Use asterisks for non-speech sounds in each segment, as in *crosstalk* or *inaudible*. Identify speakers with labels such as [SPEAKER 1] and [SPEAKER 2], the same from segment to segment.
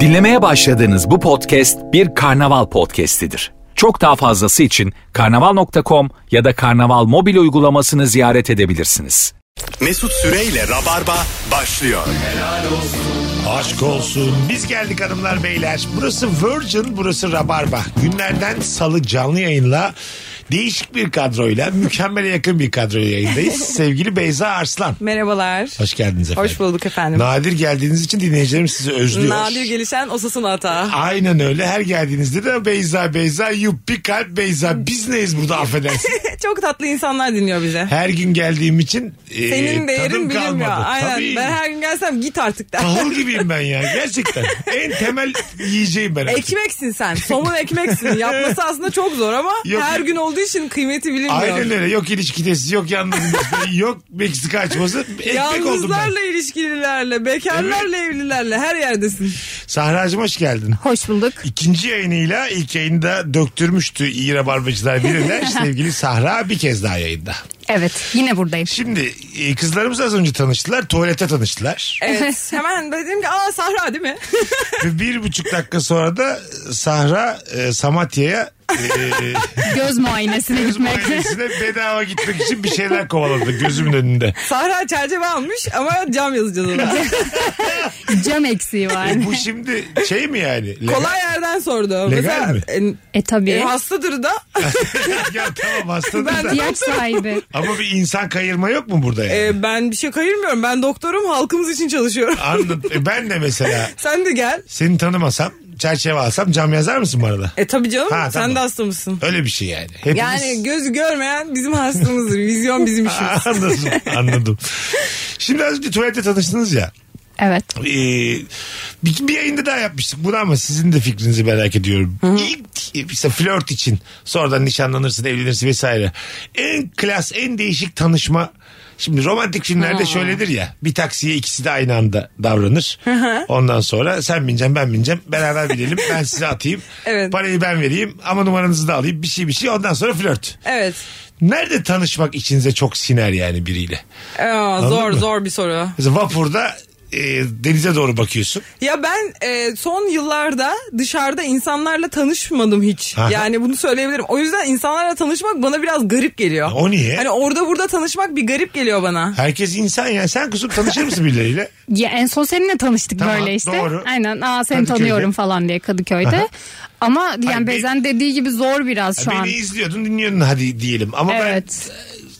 [SPEAKER 1] Dinlemeye başladığınız bu podcast bir karnaval podcastidir. Çok daha fazlası için karnaval.com ya da karnaval mobil uygulamasını ziyaret edebilirsiniz.
[SPEAKER 2] Mesut Süreyle Rabarba başlıyor.
[SPEAKER 3] Aşk olsun. Biz geldik hanımlar beyler. Burası Virgin, burası Rabarba. Günlerden salı canlı yayınla değişik bir kadroyla, mükemmele yakın bir kadroyla
[SPEAKER 4] *laughs*
[SPEAKER 3] yayındayız. Sevgili Beyza Arslan.
[SPEAKER 4] Merhabalar.
[SPEAKER 3] Hoş geldiniz efendim.
[SPEAKER 4] Hoş bulduk efendim.
[SPEAKER 3] Nadir geldiğiniz için dinleyicilerimiz sizi özlüyor.
[SPEAKER 4] Nadir gelişen osasın hata.
[SPEAKER 3] Aynen öyle. Her geldiğinizde de Beyza Beyza yuppi kalp Beyza. Biz neyiz burada affedersin.
[SPEAKER 4] *laughs* *laughs* Çok tatlı insanlar dinliyor bize.
[SPEAKER 3] Her gün geldiğim için e,
[SPEAKER 4] Senin değerin
[SPEAKER 3] tadım
[SPEAKER 4] bilinmiyor.
[SPEAKER 3] kalmadı.
[SPEAKER 4] Aynen.
[SPEAKER 3] Tabii.
[SPEAKER 4] Ben her gün gelsem git artık der.
[SPEAKER 3] Tahıl gibiyim ben ya gerçekten. en temel yiyeceğim ben. artık.
[SPEAKER 4] Ekmeksin sen.
[SPEAKER 3] *laughs*
[SPEAKER 4] Somun ekmeksin. Yapması aslında çok zor ama
[SPEAKER 3] Yok.
[SPEAKER 4] her gün olduğu için kıymeti bilinmiyor.
[SPEAKER 3] Aynen öyle. Yok ilişki testi, yok yalnızlık, *laughs* yok Meksika açması. Ekmek oldum ben.
[SPEAKER 4] Yalnızlarla ilişkililerle, bekarlarla evlilerle her yerdesin.
[SPEAKER 3] Sahra'cığım hoş geldin.
[SPEAKER 5] Hoş bulduk.
[SPEAKER 3] İkinci yayınıyla ilk yayında döktürmüştü iyi rabarbacılar
[SPEAKER 4] *laughs*
[SPEAKER 3] birine sevgili Sahra bir kez daha yayında.
[SPEAKER 5] Evet yine buradayım.
[SPEAKER 3] Şimdi e, kızlarımız az önce tanıştılar. Tuvalete tanıştılar.
[SPEAKER 4] Evet. Hemen dedim ki aa Sahra değil mi? *laughs*
[SPEAKER 3] Ve bir buçuk dakika sonra da Sahra e, Samatya'ya
[SPEAKER 4] *laughs*
[SPEAKER 3] e,
[SPEAKER 5] Göz muayenesine gitmek.
[SPEAKER 3] ailesine bedava gitmek için bir şeyler kovaladı gözümün önünde.
[SPEAKER 4] Sahra çerçeve almış ama cam yazacağız ona.
[SPEAKER 5] *laughs* Cam eksiği
[SPEAKER 3] *laughs*
[SPEAKER 5] var.
[SPEAKER 3] E, bu şimdi şey mi yani? Legal-
[SPEAKER 4] Kolay yerden sordu.
[SPEAKER 3] Legal mi?
[SPEAKER 4] en-
[SPEAKER 5] E
[SPEAKER 4] e,
[SPEAKER 5] tabii.
[SPEAKER 4] hastadır da
[SPEAKER 3] *laughs* ya tamam hastadır
[SPEAKER 4] Ben-
[SPEAKER 3] da.
[SPEAKER 5] İhtiyaç sahibi.
[SPEAKER 3] Ama bir insan kayırma yok mu burada yani?
[SPEAKER 4] e, ben bir şey kayırmıyorum. Ben doktorum halkımız için çalışıyorum. *laughs*
[SPEAKER 3] Anladım. E, ben de mesela
[SPEAKER 4] Sen de gel.
[SPEAKER 3] seni tanımasam, çerçeve alsam cam yazar mısın bu arada?
[SPEAKER 4] E tabii canım
[SPEAKER 3] Ha,
[SPEAKER 4] sen
[SPEAKER 3] tamam.
[SPEAKER 4] de hasta mısın?
[SPEAKER 3] Öyle bir şey yani. Hepimiz...
[SPEAKER 4] Yani gözü görmeyen bizim hastamızdır.
[SPEAKER 3] *laughs*
[SPEAKER 4] Vizyon bizim işimiz.
[SPEAKER 3] Anladım, anladım. Şimdi az önce tuvalette tanıştınız ya.
[SPEAKER 5] Evet.
[SPEAKER 3] Ee, bir, bir yayında daha yapmıştık bunu ama sizin de fikrinizi merak ediyorum. İlk işte flört için sonradan nişanlanırsın, evlenirsin vesaire. En klas, en değişik tanışma Şimdi romantik filmlerde şöyledir ya bir taksiye ikisi de aynı anda davranır. Ondan sonra sen bineceksin ben bineceğim beraber binelim ben size atayım.
[SPEAKER 4] Evet.
[SPEAKER 3] Parayı ben vereyim ama numaranızı da alayım bir şey bir şey ondan sonra flört.
[SPEAKER 4] Evet.
[SPEAKER 3] Nerede tanışmak içinize çok siner yani biriyle?
[SPEAKER 4] Ee, zor
[SPEAKER 3] mı?
[SPEAKER 4] zor bir soru.
[SPEAKER 3] Mesela vapurda e, denize doğru bakıyorsun.
[SPEAKER 4] Ya ben e, son yıllarda dışarıda insanlarla tanışmadım hiç.
[SPEAKER 3] Aha.
[SPEAKER 4] Yani bunu söyleyebilirim. O yüzden insanlarla tanışmak bana biraz garip geliyor.
[SPEAKER 3] O niye?
[SPEAKER 4] Hani orada burada tanışmak bir garip geliyor bana.
[SPEAKER 3] Herkes insan ya. Sen kuzum tanışır mısın
[SPEAKER 5] *laughs*
[SPEAKER 3] birileriyle?
[SPEAKER 5] Ya en son seninle tanıştık
[SPEAKER 3] Tamam,
[SPEAKER 5] böyle işte.
[SPEAKER 3] doğru.
[SPEAKER 5] Aynen. Aa seni
[SPEAKER 3] Kadıköy'de.
[SPEAKER 5] tanıyorum falan diye Kadıköy'de. Ama yani
[SPEAKER 3] Hayır,
[SPEAKER 5] Bezen dediği gibi zor biraz şu
[SPEAKER 3] Beni
[SPEAKER 5] an.
[SPEAKER 3] izliyordun dinliyordun hadi diyelim. Ama
[SPEAKER 5] Evet.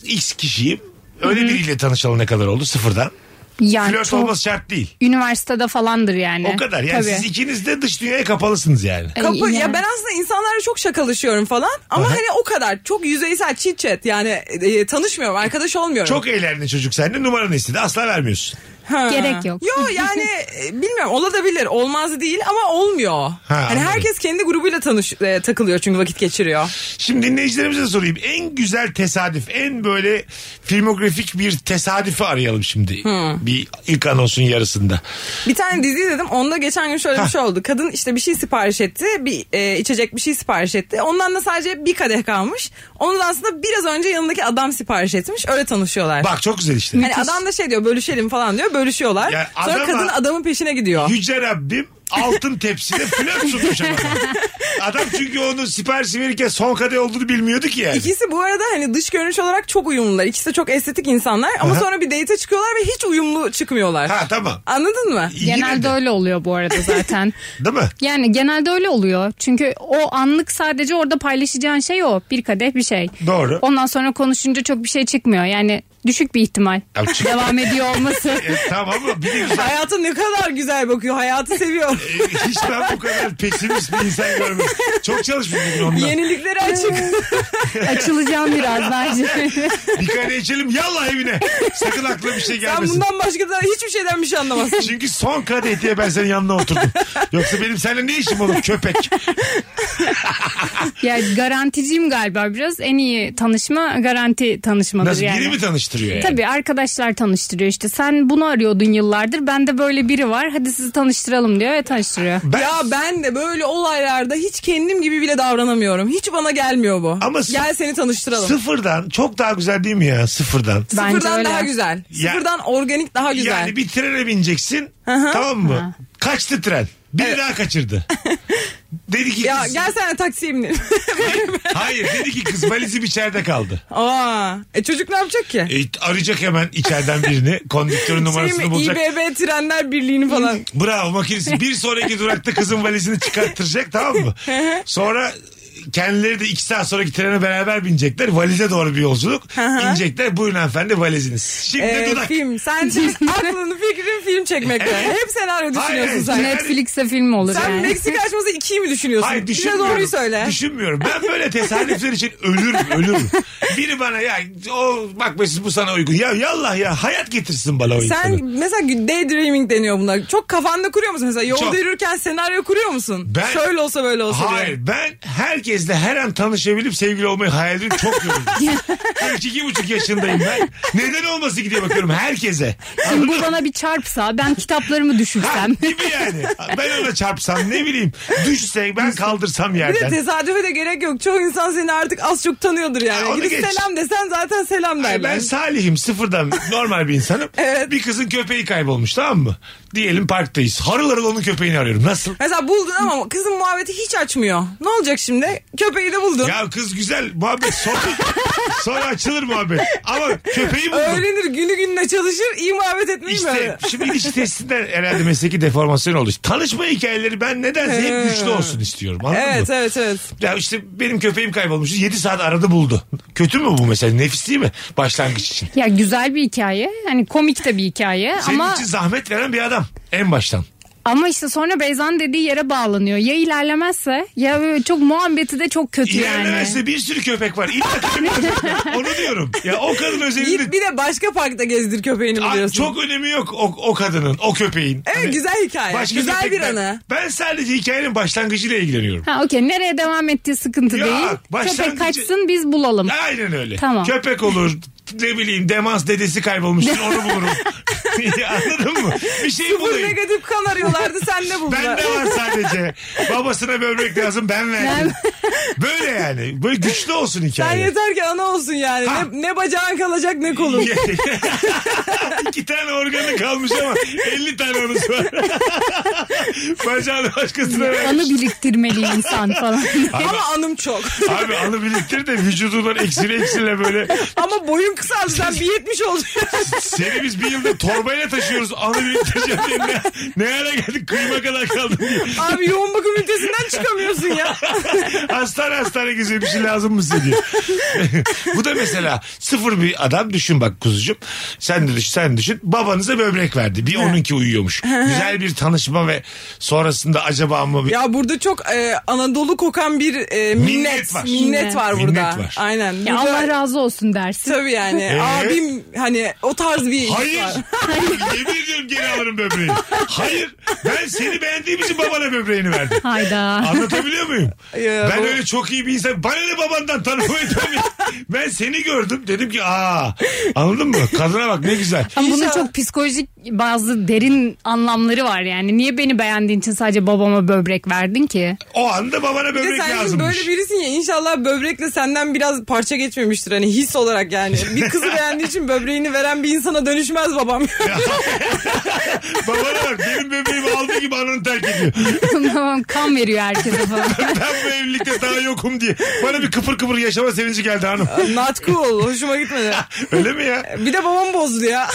[SPEAKER 3] ben x kişiyim. Öyle biriyle tanışalı ne kadar oldu sıfırdan.
[SPEAKER 5] Yani
[SPEAKER 3] Flört
[SPEAKER 5] çok
[SPEAKER 3] olması şart değil.
[SPEAKER 5] üniversitede falandır yani.
[SPEAKER 3] O kadar. Yani
[SPEAKER 5] Tabii.
[SPEAKER 3] siz ikiniz de dış dünyaya kapalısınız yani.
[SPEAKER 5] E,
[SPEAKER 4] Kapı,
[SPEAKER 5] yani.
[SPEAKER 4] ya ben aslında insanlarla çok şakalaşıyorum falan ama hani o kadar çok yüzeysel chit chat yani e, tanışmıyorum arkadaş olmuyorum.
[SPEAKER 3] Çok eğlendi çocuk sende numaranı istedi. Asla vermiyorsun.
[SPEAKER 4] Ha.
[SPEAKER 5] Gerek yok.
[SPEAKER 4] Yo yani e, bilmiyorum olabilir olmaz değil ama olmuyor. hani
[SPEAKER 3] anladım.
[SPEAKER 4] herkes kendi grubuyla tanış e, takılıyor çünkü vakit geçiriyor.
[SPEAKER 3] Şimdi dinleyicilerimize de sorayım. En güzel tesadüf, en böyle filmografik bir tesadüfi arayalım şimdi. Bir ilk anonsun yarısında.
[SPEAKER 4] Bir tane dizi izledim onda geçen gün şöyle
[SPEAKER 3] Hah.
[SPEAKER 4] bir şey oldu. Kadın işte bir şey sipariş etti bir e, içecek bir şey sipariş etti. Ondan da sadece bir kadeh kalmış. Onu da aslında biraz önce yanındaki adam sipariş etmiş öyle tanışıyorlar.
[SPEAKER 3] Bak çok güzel işte.
[SPEAKER 4] Hani adam da şey diyor bölüşelim falan diyor bölüşüyorlar.
[SPEAKER 3] Ya
[SPEAKER 4] Sonra
[SPEAKER 3] adama-
[SPEAKER 4] kadın adamın peşine
[SPEAKER 3] *laughs*
[SPEAKER 4] gidiyor.
[SPEAKER 3] Yüce Rabbim altın tepside flört sunmuş adama. Adam çünkü onun siparişi verirken son kadeh olduğunu bilmiyordu ki yani.
[SPEAKER 4] İkisi bu arada hani dış görünüş olarak çok uyumlular. İkisi de çok estetik insanlar ama
[SPEAKER 3] Aha.
[SPEAKER 4] sonra bir date'e çıkıyorlar ve hiç uyumlu çıkmıyorlar.
[SPEAKER 3] Ha tamam.
[SPEAKER 4] Anladın mı?
[SPEAKER 3] Yine
[SPEAKER 5] Genelde
[SPEAKER 3] de,
[SPEAKER 5] öyle oluyor bu arada
[SPEAKER 3] *laughs*
[SPEAKER 5] zaten.
[SPEAKER 3] Değil mi?
[SPEAKER 5] Yani genelde öyle oluyor. Çünkü o anlık sadece orada paylaşacağın şey o. Bir kadeh bir şey.
[SPEAKER 3] Doğru.
[SPEAKER 5] Ondan sonra konuşunca çok bir şey çıkmıyor. Yani düşük bir ihtimal.
[SPEAKER 3] Ya çık-
[SPEAKER 5] Devam
[SPEAKER 3] *laughs*
[SPEAKER 5] ediyor olması.
[SPEAKER 3] E, tamam ama bir de güzel.
[SPEAKER 4] Hayata ne kadar güzel bakıyor. Hayatı seviyor.
[SPEAKER 3] *laughs* E, Hiç ben bu kadar pesimist bir insan görmedim. Çok çalışmış bugün ondan.
[SPEAKER 4] Yeniliklere açık.
[SPEAKER 5] Açılacağım
[SPEAKER 3] *laughs*
[SPEAKER 5] biraz bence.
[SPEAKER 3] Bir kadeh içelim yallah evine. Sakın aklına bir şey
[SPEAKER 4] Sen
[SPEAKER 3] gelmesin.
[SPEAKER 4] bundan başka da hiçbir şeyden bir şey anlamazsın.
[SPEAKER 3] Çünkü son kadeh diye ben senin yanına oturdum. Yoksa benim seninle ne işim olur köpek?
[SPEAKER 5] ya garanticiyim galiba biraz. En iyi tanışma garanti tanışmadır
[SPEAKER 3] Nasıl
[SPEAKER 5] yani.
[SPEAKER 3] biri mi tanıştı? tanıştırıyor yani.
[SPEAKER 5] Tabii arkadaşlar tanıştırıyor işte. Sen bunu arıyordun yıllardır. Bende böyle biri var. Hadi sizi tanıştıralım diyor ve tanıştırıyor.
[SPEAKER 3] Ben-
[SPEAKER 4] Ya ben de böyle olaylarda hiç kendim gibi bile davranamıyorum. Hiç bana gelmiyor bu.
[SPEAKER 3] Ama sı-
[SPEAKER 4] Gel seni tanıştıralım.
[SPEAKER 3] Sıfırdan çok daha güzel değil mi ya sıfırdan?
[SPEAKER 5] Bence
[SPEAKER 4] Sıfırdan
[SPEAKER 5] öyle.
[SPEAKER 4] daha güzel.
[SPEAKER 3] Ya-
[SPEAKER 4] Sıfırdan organik daha güzel.
[SPEAKER 3] Yani bir trene bineceksin tamam mı? Kaçtı tren. Biri daha
[SPEAKER 4] *laughs*
[SPEAKER 3] kaçırdı. dedi ki
[SPEAKER 4] Ya
[SPEAKER 3] kız,
[SPEAKER 4] gelsene taksiye binelim.
[SPEAKER 3] *laughs*
[SPEAKER 4] *laughs*
[SPEAKER 3] hayır dedi ki kız valizim içeride kaldı.
[SPEAKER 4] Aa, e çocuk ne yapacak ki?
[SPEAKER 3] E, arayacak hemen içeriden birini. Konduktörün numarasını
[SPEAKER 4] şey mi,
[SPEAKER 3] bulacak.
[SPEAKER 4] İBB Trenler Birliği'ni falan.
[SPEAKER 3] Bravo makinesi. Bir sonraki durakta kızın valizini çıkarttıracak tamam mı? Sonra kendileri de iki saat sonraki trene beraber binecekler. Valize doğru bir yolculuk. İnecekler. Buyurun hanımefendi valiziniz. Şimdi
[SPEAKER 4] Ee,
[SPEAKER 3] dudak. *laughs*
[SPEAKER 4] film. Sen şimdi aklını fikrin film çekmekte.
[SPEAKER 3] Evet.
[SPEAKER 4] Hep senaryo düşünüyorsun
[SPEAKER 3] Hayır,
[SPEAKER 4] sen.
[SPEAKER 3] hayır.
[SPEAKER 5] Netflix'e film olur
[SPEAKER 4] Sen
[SPEAKER 5] yani.
[SPEAKER 4] Meksika açması 2'yi mi düşünüyorsun?
[SPEAKER 3] Hayır
[SPEAKER 4] Bize
[SPEAKER 3] düşünmüyorum.
[SPEAKER 4] doğruyu söyle.
[SPEAKER 3] Düşünmüyorum. Ben böyle tesadüfler için ölürüm ölürüm. Biri bana ya o bak Mesut bu sana uygun. Ya yallah ya hayat getirsin bana o insanı.
[SPEAKER 4] Sen mesela daydreaming deniyor bunlar. Çok kafanda kuruyor musun? Mesela yolda
[SPEAKER 3] Çok.
[SPEAKER 4] yürürken senaryo kuruyor musun?
[SPEAKER 3] Ben-
[SPEAKER 4] Şöyle olsa böyle olsa diye.
[SPEAKER 3] Hayır ben herkesle her an tanışabilip sevgili olmayı hayal ediyorum. Çok
[SPEAKER 4] *laughs*
[SPEAKER 3] yoruldum. 42 buçuk yaşındayım ben. Neden olmasın ki diye bakıyorum herkese.
[SPEAKER 5] Şimdi bu bana bir çarpsa ben kitaplarımı
[SPEAKER 3] Ha,
[SPEAKER 5] düşürsem.
[SPEAKER 3] gibi yani. Ben ona çarpsam ne bileyim. Düşse ben kaldırsam
[SPEAKER 4] Bir de
[SPEAKER 3] yerden.
[SPEAKER 4] tesadüfe de gerek yok. Çoğu insan seni artık az çok tanıyordur yani.
[SPEAKER 3] Ha, onu
[SPEAKER 4] Gidip
[SPEAKER 3] geç.
[SPEAKER 4] selam desen zaten selam
[SPEAKER 3] Ay,
[SPEAKER 4] derler.
[SPEAKER 3] ben salihim sıfırdan normal bir insanım.
[SPEAKER 4] *laughs* Evet.
[SPEAKER 3] Bir kızın köpeği kaybolmuş tamam mı? Diyelim parktayız. Harıl harıl onun köpeğini arıyorum.
[SPEAKER 4] *laughs*
[SPEAKER 3] Nasıl?
[SPEAKER 4] Mesela buldun ama kızın muhabbeti hiç açmıyor. Ne olacak şimdi? Köpeği de buldun.
[SPEAKER 3] Ya kız güzel muhabbet
[SPEAKER 4] *laughs*
[SPEAKER 3] sonra, sonra açılır muhabbet. Ama köpeği buldum.
[SPEAKER 4] Öğrenir günü gününe çalışır iyi muhabbet etmeyi mi?
[SPEAKER 3] İşte
[SPEAKER 4] öğrenir?
[SPEAKER 3] şimdi ilişki testinden herhalde mesleki deformasyon oldu. Tanışma hikayeleri ben nedense hep güçlü olsun istiyorum. Anladın
[SPEAKER 4] Evet
[SPEAKER 3] mı?
[SPEAKER 4] evet evet.
[SPEAKER 3] Ya işte benim köpeğim kaybolmuş. 7 saat aradı buldu. Kötü mü bu mesela? Nefis değil mi? Başlangıç için.
[SPEAKER 5] Ya güzel bir hikaye. Hani komik de bir hikaye
[SPEAKER 3] Senin
[SPEAKER 5] ama
[SPEAKER 3] için zahmet veren bir adam. En baştan.
[SPEAKER 5] ama işte sonra Beyza'nın dediği yere bağlanıyor. Ya ilerlemezse ya böyle çok muhabbeti de çok kötü yani.
[SPEAKER 3] İlerlemezse bir sürü köpek var.
[SPEAKER 4] *laughs*
[SPEAKER 3] İlla ki bir köpek var. Onu diyorum. Ya o kadın özelinde
[SPEAKER 4] Git bir de başka parkta gezdir köpeğini
[SPEAKER 3] Ay,
[SPEAKER 4] biliyorsun.
[SPEAKER 3] çok önemi yok o, o kadının, o köpeğin.
[SPEAKER 4] Evet
[SPEAKER 3] Hani
[SPEAKER 4] güzel hikaye.
[SPEAKER 3] başka
[SPEAKER 4] güzel bir
[SPEAKER 3] köpekler-
[SPEAKER 4] anı.
[SPEAKER 3] Ben sadece hikayenin başlangıcıyla ilgileniyorum.
[SPEAKER 5] Ha okey nereye devam ettiği sıkıntı
[SPEAKER 3] Ya,
[SPEAKER 5] değil.
[SPEAKER 3] başlangıcı-
[SPEAKER 5] Köpek kaçsın biz bulalım.
[SPEAKER 3] Aynen öyle.
[SPEAKER 5] Tamam.
[SPEAKER 3] Köpek olur. Ne bileyim demans dedesi
[SPEAKER 4] *laughs*
[SPEAKER 3] kaybolmuştur onu bulurum. *laughs* Anladın mı? Bir şey
[SPEAKER 4] Bu
[SPEAKER 3] bulayım.
[SPEAKER 4] negatif kan
[SPEAKER 3] *laughs*
[SPEAKER 4] arıyorlardı sen ne buldun?
[SPEAKER 3] Ben de var sadece.
[SPEAKER 4] *laughs*
[SPEAKER 3] Babasına böbrek lazım ben verdim. Böyle yani. Böyle güçlü olsun
[SPEAKER 4] Sen
[SPEAKER 3] hikaye.
[SPEAKER 4] yeter ki ana olsun yani.
[SPEAKER 3] Ha.
[SPEAKER 4] Ne, ne bacağın kalacak ne kolun.
[SPEAKER 3] *laughs* İki tane organı kalmış ama 50 tane anısı var. *laughs* Bacağını başkasına
[SPEAKER 5] Anı
[SPEAKER 3] vermiş.
[SPEAKER 5] biriktirmeli
[SPEAKER 3] *laughs*
[SPEAKER 5] insan falan.
[SPEAKER 4] Ama anım çok. *laughs*
[SPEAKER 3] Abi anı biriktir de vücudundan eksile eksile böyle.
[SPEAKER 4] Ama boyun kısaldı sen bir yetmiş oldun. *laughs*
[SPEAKER 3] Seni biz bir yılda torbayla taşıyoruz. Anı biriktireceğim diye ne, ne ara geldik kıyma kadar kaldı diye.
[SPEAKER 4] Abi yoğun bakım ünitesinden
[SPEAKER 3] *laughs*
[SPEAKER 4] çıkamıyorsun ya.
[SPEAKER 3] hastane hastane geziyor bir şey lazım mı size diye. *laughs* Bu da mesela sıfır bir adam düşün bak kuzucuğum. Sen de düşün sen düşün. Babanıza böbrek verdi. Bir onunki uyuyormuş. Güzel bir tanışma ve sonrasında acaba mı bir...
[SPEAKER 4] Ya burada çok e, Anadolu kokan bir e, minnet.
[SPEAKER 3] Minnet
[SPEAKER 4] Minnet
[SPEAKER 3] var.
[SPEAKER 4] var.
[SPEAKER 5] Minnet.
[SPEAKER 4] burada.
[SPEAKER 3] Minnet var.
[SPEAKER 4] Aynen.
[SPEAKER 5] Ya
[SPEAKER 4] Burada-
[SPEAKER 5] Allah razı olsun dersin.
[SPEAKER 4] Tabii yani. Abim hani o tarz bir iş
[SPEAKER 3] Hayır.
[SPEAKER 4] var.
[SPEAKER 3] *laughs* Yemin ediyorum geri alırım böbreği. Hayır. Ben seni beğendiğim için babana böbreğini verdim.
[SPEAKER 5] Hayda.
[SPEAKER 3] Anlatabiliyor muyum?
[SPEAKER 4] Ya,
[SPEAKER 3] ben
[SPEAKER 4] bu-
[SPEAKER 3] öyle çok iyi bir insan. Bana ne babandan tanıma etmem. *laughs* ben seni gördüm. Dedim ki aa anladın mı? Kadına bak ne güzel.
[SPEAKER 5] Ama bunun
[SPEAKER 4] İnşallah.
[SPEAKER 5] çok psikolojik bazı derin anlamları var yani. Niye beni beğendiğin için sadece babama böbrek verdin ki? *laughs*
[SPEAKER 3] O anda babana
[SPEAKER 4] Bir de
[SPEAKER 3] böbrek
[SPEAKER 4] sen şimdi
[SPEAKER 3] lazımmış.
[SPEAKER 4] böyle birisin ya inşallah böbrekle senden biraz parça geçmemiştir hani his olarak yani. Bir kızı beğendiği için böbreğini veren bir insana dönüşmez babam.
[SPEAKER 3] Babana bak benim bebeğimi aldığı gibi ananı terk ediyor. *laughs*
[SPEAKER 5] Tamam kan veriyor herkese falan.
[SPEAKER 3] Ben bu evlilikte daha yokum diye. Bana bir kıpır kıpır yaşama sevinci geldi hanım.
[SPEAKER 4] Not cool hoşuma gitmedi.
[SPEAKER 3] Öyle mi ya?
[SPEAKER 4] Bir de babam bozdu
[SPEAKER 3] *laughs*
[SPEAKER 4] ya.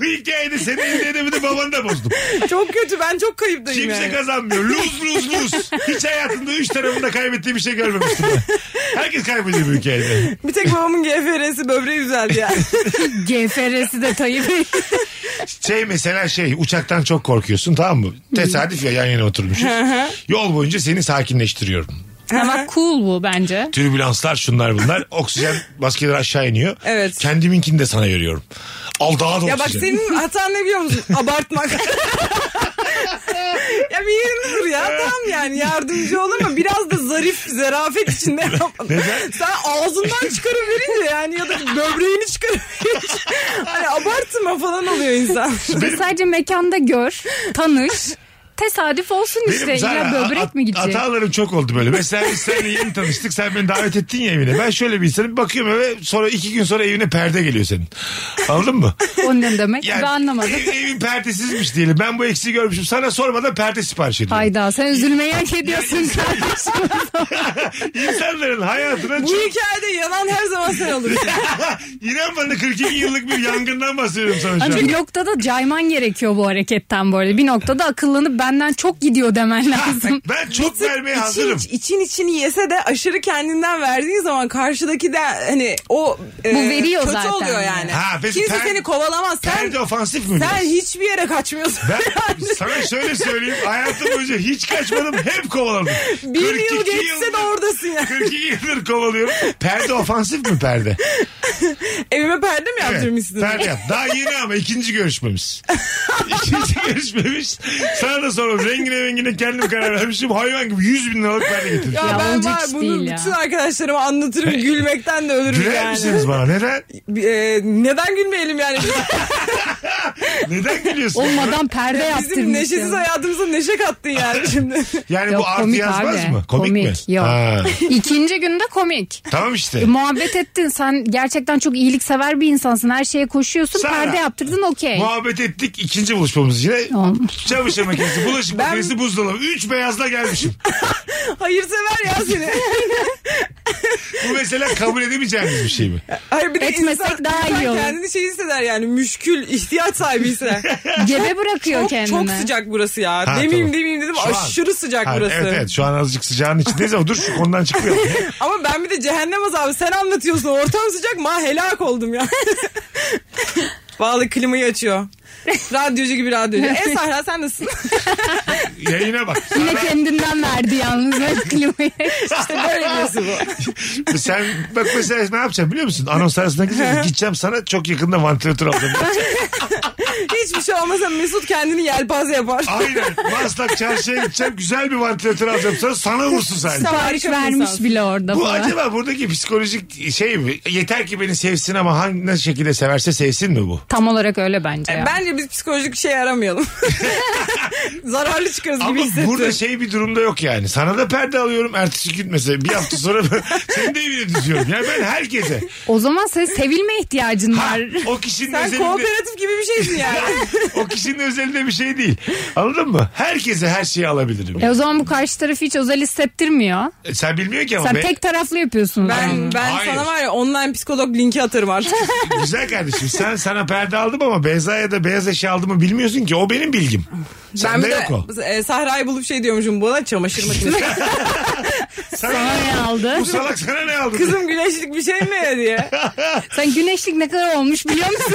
[SPEAKER 3] Bu hikayede seni elde edemedi babanı da bozdum.
[SPEAKER 4] çok kötü ben çok kayıptayım
[SPEAKER 3] Kimse
[SPEAKER 4] yani.
[SPEAKER 3] kazanmıyor. Luz luz luz. Hiç hayatımda üç tarafında kaybettiği bir şey görmemiştim. ben. Herkes kaybediyor bu hikayede.
[SPEAKER 4] bir tek babamın GFR'si böbreği
[SPEAKER 3] *laughs*
[SPEAKER 4] düzeldi yani.
[SPEAKER 5] GFR'si de Tayyip.
[SPEAKER 3] Şey mesela şey uçaktan çok korkuyorsun tamam mı? Tesadüf ya yan yana oturmuşuz. Yol boyunca seni sakinleştiriyorum.
[SPEAKER 5] Ama cool bu bence.
[SPEAKER 3] Türbülanslar şunlar
[SPEAKER 5] *laughs*
[SPEAKER 3] bunlar. Oksijen maskeleri aşağı iniyor.
[SPEAKER 4] Evet.
[SPEAKER 3] Kendiminkini de sana görüyorum. Al daha da
[SPEAKER 4] ya bak
[SPEAKER 3] oksijen. *laughs*
[SPEAKER 4] senin hatan ne biliyor musun? Abartmak. ya samimidir ya. Tamam yani yardımcı ol ama biraz da zarif, zarafet içinde yap. Sen ağzından çıkarıverince yani ya da böbreğini çıkarıverince. Hani abartma falan oluyor insan.
[SPEAKER 5] Sadece mekanda gör, tanış. Tesadüf olsun işte.
[SPEAKER 3] Sana
[SPEAKER 5] İlla böbrek mi gidecek?
[SPEAKER 3] Hatalarım çok oldu böyle. Mesela biz seninle yeni tanıştık. Sen beni davet ettin ya evine. Ben şöyle bir insanım. Bakıyorum eve sonra iki gün sonra evine perde geliyor senin. Anladın mı?
[SPEAKER 5] O ne demek?
[SPEAKER 3] Yani
[SPEAKER 5] Ben anlamadım.
[SPEAKER 3] Evin perdesizmiş diyelim. Ben bu eksiği görmüşüm. Sana sormadan perde sipariş ediyorum.
[SPEAKER 5] Hayda sen üzülmeyi
[SPEAKER 3] *laughs*
[SPEAKER 5] hak *laughs* ediyorsun kardeşim.
[SPEAKER 3] İnsanların hayatına
[SPEAKER 4] Bu
[SPEAKER 3] çok...
[SPEAKER 4] hikayede yanan her zaman sen olursun.
[SPEAKER 3] *laughs* İnan bana 42 yıllık bir yangından bahsediyorum sana şu an.
[SPEAKER 5] Hani bir noktada cayman gerekiyor bu hareketten bu arada. Bir noktada akıllanıp benden çok
[SPEAKER 3] *laughs*
[SPEAKER 5] gidiyor demen lazım.
[SPEAKER 3] Ben çok vermeye
[SPEAKER 4] için,
[SPEAKER 3] hazırım.
[SPEAKER 4] iç- için içini yese de aşırı kendinden verdiğin zaman karşıdaki de hani o e,
[SPEAKER 5] Bu veriyor
[SPEAKER 4] kötü
[SPEAKER 5] zaten.
[SPEAKER 4] oluyor yani.
[SPEAKER 3] Ha, peki
[SPEAKER 4] Kimse
[SPEAKER 3] ter-
[SPEAKER 4] seni kovalamaz. Sen,
[SPEAKER 3] Perde ofansif mi?
[SPEAKER 4] sen
[SPEAKER 3] biraz?
[SPEAKER 4] hiçbir yere kaçmıyorsun.
[SPEAKER 3] Ben sana şöyle söyleyeyim. Hayatım boyunca hiç kaçmadım. Hep kovaladım.
[SPEAKER 4] *laughs* Bir
[SPEAKER 3] 42
[SPEAKER 4] yıl geçse de
[SPEAKER 3] yıldır- *laughs*
[SPEAKER 4] oradasın ya.
[SPEAKER 3] 42 yıldır kovalıyorum. Perde ofansif mi
[SPEAKER 4] *laughs*
[SPEAKER 3] perde?
[SPEAKER 4] Evime perde mi
[SPEAKER 3] Evet,
[SPEAKER 4] yaptırmışsın?
[SPEAKER 3] Perde yap. Daha yeni ama ikinci görüşmemiz.
[SPEAKER 4] *laughs*
[SPEAKER 3] ikinci görüşmemiz. Sana da soralım. Rengine rengine kendim karar vermişim. Hayvan gibi 100 bin liralık perde getirdim.
[SPEAKER 4] Ya,
[SPEAKER 5] Ya
[SPEAKER 4] ben
[SPEAKER 5] olacak
[SPEAKER 4] var
[SPEAKER 5] iş
[SPEAKER 4] bunu
[SPEAKER 5] değil ya.
[SPEAKER 4] bütün arkadaşlarıma anlatırım gülmekten de ölürüm
[SPEAKER 3] Güler
[SPEAKER 4] yani.
[SPEAKER 3] misiniz bana? Neden?
[SPEAKER 4] Ee, neden gülmeyelim
[SPEAKER 5] *laughs*
[SPEAKER 4] yani?
[SPEAKER 3] Neden gülüyorsun?
[SPEAKER 5] Olmadan perde
[SPEAKER 4] Bizim neşesiz
[SPEAKER 5] yaptırmışsın.
[SPEAKER 4] hayatımıza neşe kattın yani şimdi. *laughs*
[SPEAKER 3] Yani
[SPEAKER 5] Yok,
[SPEAKER 3] bu artı
[SPEAKER 5] komik
[SPEAKER 3] yazmaz
[SPEAKER 5] abi.
[SPEAKER 3] mı? Komik,
[SPEAKER 5] Komik,
[SPEAKER 3] mi?
[SPEAKER 5] yok.
[SPEAKER 3] Ha,
[SPEAKER 5] *laughs* İkinci günde komik. E,
[SPEAKER 3] tamam işte.
[SPEAKER 5] Muhabbet ettin sen gerçekten çok iyiliksever bir insansın. Her şeye koşuyorsun
[SPEAKER 3] Sara.
[SPEAKER 5] perde yaptırdın okey.
[SPEAKER 3] Muhabbet ettik ikinci buluşmamız yine.
[SPEAKER 5] Tamam.
[SPEAKER 3] Çamaşır makinesi, bulaşık
[SPEAKER 4] *laughs* Ben-
[SPEAKER 3] makinesi, buzdolabı. Üç beyazla gelmişim.
[SPEAKER 4] Hayırsever ya seni.
[SPEAKER 3] Bu mesela kabul edemeyeceğimiz bir şey mi?
[SPEAKER 4] Hayır bir de
[SPEAKER 5] Etmesek
[SPEAKER 4] insan,
[SPEAKER 5] daha iyi
[SPEAKER 4] insan
[SPEAKER 5] olur.
[SPEAKER 4] kendini şey hisseder yani müşkül ihtiyaç sahibi
[SPEAKER 5] *laughs*
[SPEAKER 4] hisseder.
[SPEAKER 5] Gebe bırakıyor
[SPEAKER 4] çok,
[SPEAKER 5] kendini.
[SPEAKER 4] çok sıcak burası ya.
[SPEAKER 3] Ha,
[SPEAKER 4] demeyeyim
[SPEAKER 3] tamam.
[SPEAKER 4] demeyeyim dedim
[SPEAKER 3] Şu an-
[SPEAKER 4] aşırı sıcak
[SPEAKER 3] Ha,
[SPEAKER 4] burası.
[SPEAKER 3] Evet evet şu an azıcık sıcağın içindeyiz ama dur şu konudan çıkıyor.
[SPEAKER 4] Ama ben bir de cehennem azabı sen anlatıyorsun ortam sıcak ma helak oldum ya. *laughs* Vallahi klimayı açıyor. Radyocu gibi
[SPEAKER 5] *laughs*
[SPEAKER 4] radyocu. E Sahra sen nasılsın?
[SPEAKER 3] Yayına bak.
[SPEAKER 5] Yine kendinden verdi yalnız evet klimayı.
[SPEAKER 4] işte böyle diyorsun
[SPEAKER 3] *laughs*
[SPEAKER 4] bu.
[SPEAKER 3] Sen bak mesela ne yapacağım biliyor musun? Anons arasında gideceğim. Gideceğim sana çok yakında vantilatör alacağım.
[SPEAKER 4] Hiçbir şey olmasa Mesut kendini yelpaze yapar.
[SPEAKER 3] Aynen. Maslak çarşıya gideceğim. Güzel bir vantilatör alacağım sana. Sana vursun sadece.
[SPEAKER 5] Sipariş
[SPEAKER 4] Harika bir
[SPEAKER 5] vermiş
[SPEAKER 4] insansın.
[SPEAKER 5] bile orada
[SPEAKER 3] Bu
[SPEAKER 5] falan.
[SPEAKER 3] acaba buradaki psikolojik şey mi? Yeter ki beni sevsin ama hangi nasıl şekilde severse sevsin mi bu?
[SPEAKER 5] Tam olarak öyle bence ya.
[SPEAKER 4] Bence biz psikolojik şey
[SPEAKER 3] *laughs*
[SPEAKER 4] aramayalım. Zararlı çıkarız gibi
[SPEAKER 3] Ama
[SPEAKER 4] hissettim.
[SPEAKER 3] burada şey bir durumda yok yani. Sana da perde alıyorum ertesi gün mesela. Bir hafta sonra
[SPEAKER 4] *laughs*
[SPEAKER 3] seni de evine düzüyorum. Yani ben herkese.
[SPEAKER 5] O zaman sen sevilme ihtiyacın
[SPEAKER 3] Ha,
[SPEAKER 5] var.
[SPEAKER 3] o kişinin
[SPEAKER 4] Sen
[SPEAKER 3] özelinde...
[SPEAKER 4] kooperatif gibi bir şeysin yani.
[SPEAKER 3] *laughs* o kişinin özelinde bir şey değil. Anladın mı? Herkese her şeyi alabilirim.
[SPEAKER 5] E o zaman bu karşı tarafı hiç özel hissettirmiyor.
[SPEAKER 3] E, Sen bilmiyor ki ama.
[SPEAKER 5] Sen
[SPEAKER 3] be-
[SPEAKER 5] tek taraflı yapıyorsun.
[SPEAKER 4] Ben, ben
[SPEAKER 3] Hayır.
[SPEAKER 4] sana var ya online psikolog linki
[SPEAKER 3] *laughs*
[SPEAKER 4] atarım artık.
[SPEAKER 3] *laughs* Güzel kardeşim sen sana perde aldım ama Beyza'ya da beyaz eşya aldığımı bilmiyorsun ki. O benim bilgim.
[SPEAKER 4] ben
[SPEAKER 3] Sende
[SPEAKER 4] bir de
[SPEAKER 3] yok
[SPEAKER 4] *laughs*
[SPEAKER 3] o.
[SPEAKER 4] e, Sahra'yı bulup şey diyormuşum bana çamaşır
[SPEAKER 3] *laughs*
[SPEAKER 4] makinesi.
[SPEAKER 3] Sana,
[SPEAKER 5] aldı.
[SPEAKER 3] bu salak sana ne aldı?
[SPEAKER 4] Kızım güneşlik bir şey mi diye.
[SPEAKER 5] Sen güneşlik ne kadar olmuş biliyor
[SPEAKER 4] *laughs*
[SPEAKER 5] musun?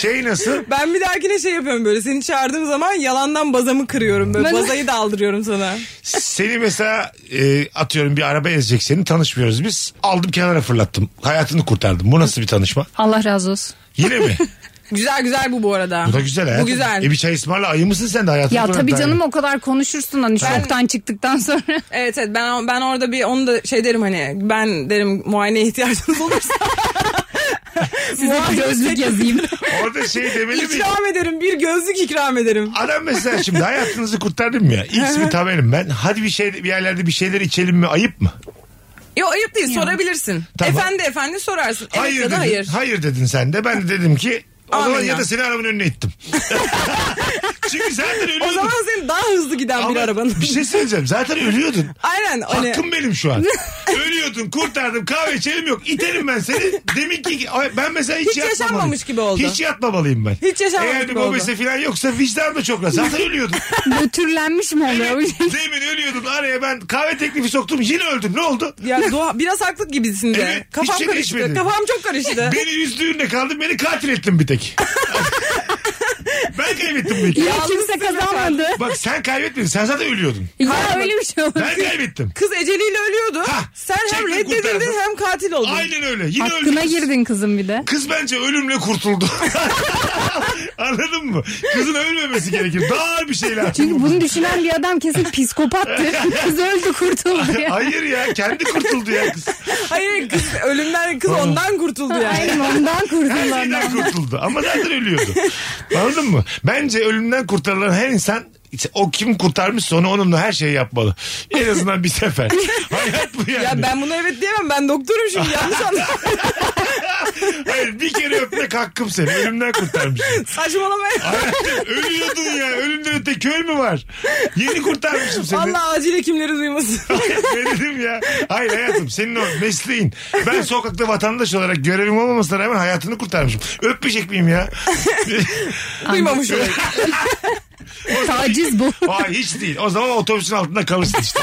[SPEAKER 3] Şey nasıl?
[SPEAKER 4] Ben bir dahakine şey yapıyorum böyle seni çağırdığım zaman yalandan bazamı kırıyorum böyle
[SPEAKER 5] Ben-
[SPEAKER 4] bazayı da aldırıyorum sana.
[SPEAKER 3] Seni mesela e, atıyorum bir araba ezecek seni tanışmıyoruz biz. Aldım kenara fırlattım. Hayatını kurtardım. Bu nasıl bir tanışma?
[SPEAKER 5] Allah razı olsun.
[SPEAKER 3] Yine mi?
[SPEAKER 4] Güzel güzel bu bu arada.
[SPEAKER 3] Bu da güzel hayatım.
[SPEAKER 4] Bu güzel.
[SPEAKER 3] E bir çay ısmarla ayı mısın sen de hayatını
[SPEAKER 5] Ya
[SPEAKER 3] kurtardın.
[SPEAKER 5] tabii canım o kadar konuşursun hani şoktan
[SPEAKER 4] *laughs*
[SPEAKER 5] çıktıktan sonra.
[SPEAKER 4] Evet evet ben ben orada bir onu da şey derim hani ben derim muayeneye ihtiyacınız *laughs* olursa
[SPEAKER 5] Size bir gözlük yazayım.
[SPEAKER 3] Orada şey demeli mi?
[SPEAKER 4] ikram ederim bir gözlük ikram ederim.
[SPEAKER 3] Adam mesela şimdi hayatınızı kurtardım ya. X bir tabelim ben. Hadi bir şey bir yerlerde bir şeyler içelim mi? Ayıp mı?
[SPEAKER 4] Yok ayıp değil sorabilirsin.
[SPEAKER 3] Tamam.
[SPEAKER 4] Efendi efendi sorarsın. Evet
[SPEAKER 3] hayır
[SPEAKER 4] ya
[SPEAKER 3] dedin.
[SPEAKER 4] da hayır.
[SPEAKER 3] Hayır. dedin sen de. Ben de dedim ki o zaman
[SPEAKER 4] Amenna.
[SPEAKER 3] ya da seni arabanın önüne
[SPEAKER 4] *laughs*
[SPEAKER 3] ittim. Çünkü zaten ölüyordun.
[SPEAKER 4] O zaman senin daha hızlı giden bir
[SPEAKER 3] Ama
[SPEAKER 4] arabanın.
[SPEAKER 3] Bir şey söyleyeceğim. Zaten ölüyordun.
[SPEAKER 4] *laughs* Aynen hani
[SPEAKER 3] Hakkım benim şu
[SPEAKER 4] *laughs*
[SPEAKER 3] an. Ölüyordun kurtardım kahve içelim yok. İterim ben seni. Demin ki Ay, ben mesela hiç,
[SPEAKER 4] Hiç
[SPEAKER 3] yatmamalıyım.
[SPEAKER 4] yaşanmamış gibi oldu.
[SPEAKER 3] Hiç yatmamalıyım ben.
[SPEAKER 4] Hiç yaşanmamış
[SPEAKER 3] Eğer bir
[SPEAKER 4] gibi oldu.
[SPEAKER 3] mobese falan yoksa vicdan da çok rahat. Zaten
[SPEAKER 4] *laughs*
[SPEAKER 3] ölüyordun.
[SPEAKER 5] Götürlenmiş mi oluyor?
[SPEAKER 4] şey-
[SPEAKER 3] Demin ölüyordun araya ben kahve teklifi soktum yine öldüm ne oldu?
[SPEAKER 4] ya doğa, biraz haklı gibisin de.
[SPEAKER 3] Evet,
[SPEAKER 4] Kafam
[SPEAKER 3] hiçbir şey
[SPEAKER 4] karıştı.
[SPEAKER 3] değişmedi.
[SPEAKER 4] Kafam çok karıştı.
[SPEAKER 3] Beni üzdüğünde kaldın beni katil ettin bir
[SPEAKER 4] *laughs*
[SPEAKER 3] tek. ben kaybettim bir tek.
[SPEAKER 5] *laughs* Ya kimse kazanmadı.
[SPEAKER 3] Bak sen kaybetmedin sen zaten ölüyordun.
[SPEAKER 5] Ya öyle bir şey olur.
[SPEAKER 3] Ben kaybettim.
[SPEAKER 4] Kız eceliyle ölüyordu.
[SPEAKER 3] Hah,
[SPEAKER 4] Sen
[SPEAKER 3] çektim,
[SPEAKER 4] hem reddedildin
[SPEAKER 3] kurtardım.
[SPEAKER 4] hem katil oldun.
[SPEAKER 3] Aynen öyle yine öldüm.
[SPEAKER 5] Hakkına girdin kızım bir de.
[SPEAKER 3] Kız bence ölümle kurtuldu. *laughs* Anladın mı? Kızın ölmemesi gerekir. Daha ağır bir şeyler.
[SPEAKER 5] Çünkü bunu düşünen bir adam kesin psikopattır.
[SPEAKER 3] *laughs*
[SPEAKER 5] Kız öldü kurtuldu ya.
[SPEAKER 3] Hayır ya kendi kurtuldu ya kız.
[SPEAKER 4] Hayır kız ölümden kız ondan kurtuldu yani.
[SPEAKER 5] Aynen ondan
[SPEAKER 3] Her
[SPEAKER 5] kurtulan
[SPEAKER 3] şeyden
[SPEAKER 5] adam.
[SPEAKER 3] kurtuldu ama zaten ölüyordu. Anladın mı? Bence ölümden kurtarılan her insan işte o kim kurtarmışsa onu onunla her şeyi yapmalı. En azından bir sefer. Hayat bu yani.
[SPEAKER 4] Ya ben buna evet diyemem ben doktorum şimdi
[SPEAKER 3] *laughs*
[SPEAKER 4] yanlış anladım.
[SPEAKER 3] Hayır bir kere öpmek hakkım senin. Ölümden
[SPEAKER 4] *laughs*
[SPEAKER 3] kurtarmışsın.
[SPEAKER 4] Saçmalama.
[SPEAKER 3] Hayatım, Ölüyordun ya. Ölümden öte köy mü var? Yeni kurtarmışım seni.
[SPEAKER 4] Allah acil hekimleri duymasın.
[SPEAKER 3] ne dedim ya? Hayır hayatım senin o mesleğin. Ben sokakta vatandaş olarak görevim olmamasına rağmen hayatını kurtarmışım. Öpmeyecek miyim ya?
[SPEAKER 4] *laughs*
[SPEAKER 3] *laughs*
[SPEAKER 4] Duymamış olayım.
[SPEAKER 3] *laughs*
[SPEAKER 5] Taciz bu. *laughs*
[SPEAKER 3] Aa, hiç değil. O zaman otobüsün altında kalırsın işte.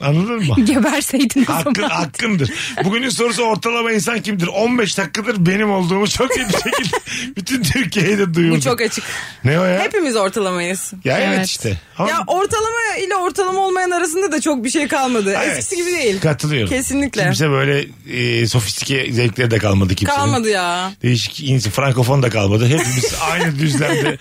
[SPEAKER 3] Anladın
[SPEAKER 5] *laughs*
[SPEAKER 3] mı?
[SPEAKER 5] Geberseydin o
[SPEAKER 3] Hakkın,
[SPEAKER 5] zaman.
[SPEAKER 3] hakkındır. Bugünün sorusu ortalama insan kimdir? 15 dakikadır benim olduğumu çok iyi bir şekilde *laughs* bütün Türkiye'ye de duyurdum.
[SPEAKER 4] Bu çok açık.
[SPEAKER 3] Ne o ya?
[SPEAKER 4] Hepimiz ortalamayız.
[SPEAKER 3] Ya evet,
[SPEAKER 5] Evet.
[SPEAKER 3] işte. Ama-
[SPEAKER 4] Ya ortalama ile ortalama olmayan arasında da çok bir şey kalmadı.
[SPEAKER 3] Evet.
[SPEAKER 4] Eskisi gibi değil.
[SPEAKER 3] Katılıyorum.
[SPEAKER 4] Kesinlikle.
[SPEAKER 3] Kimse böyle e, sofistike zevkleri de kalmadı kimsenin.
[SPEAKER 4] Kalmadı ya.
[SPEAKER 3] Değişik insan, frankofon da kalmadı.
[SPEAKER 4] *laughs*
[SPEAKER 3] Hepimiz aynı düzlemde.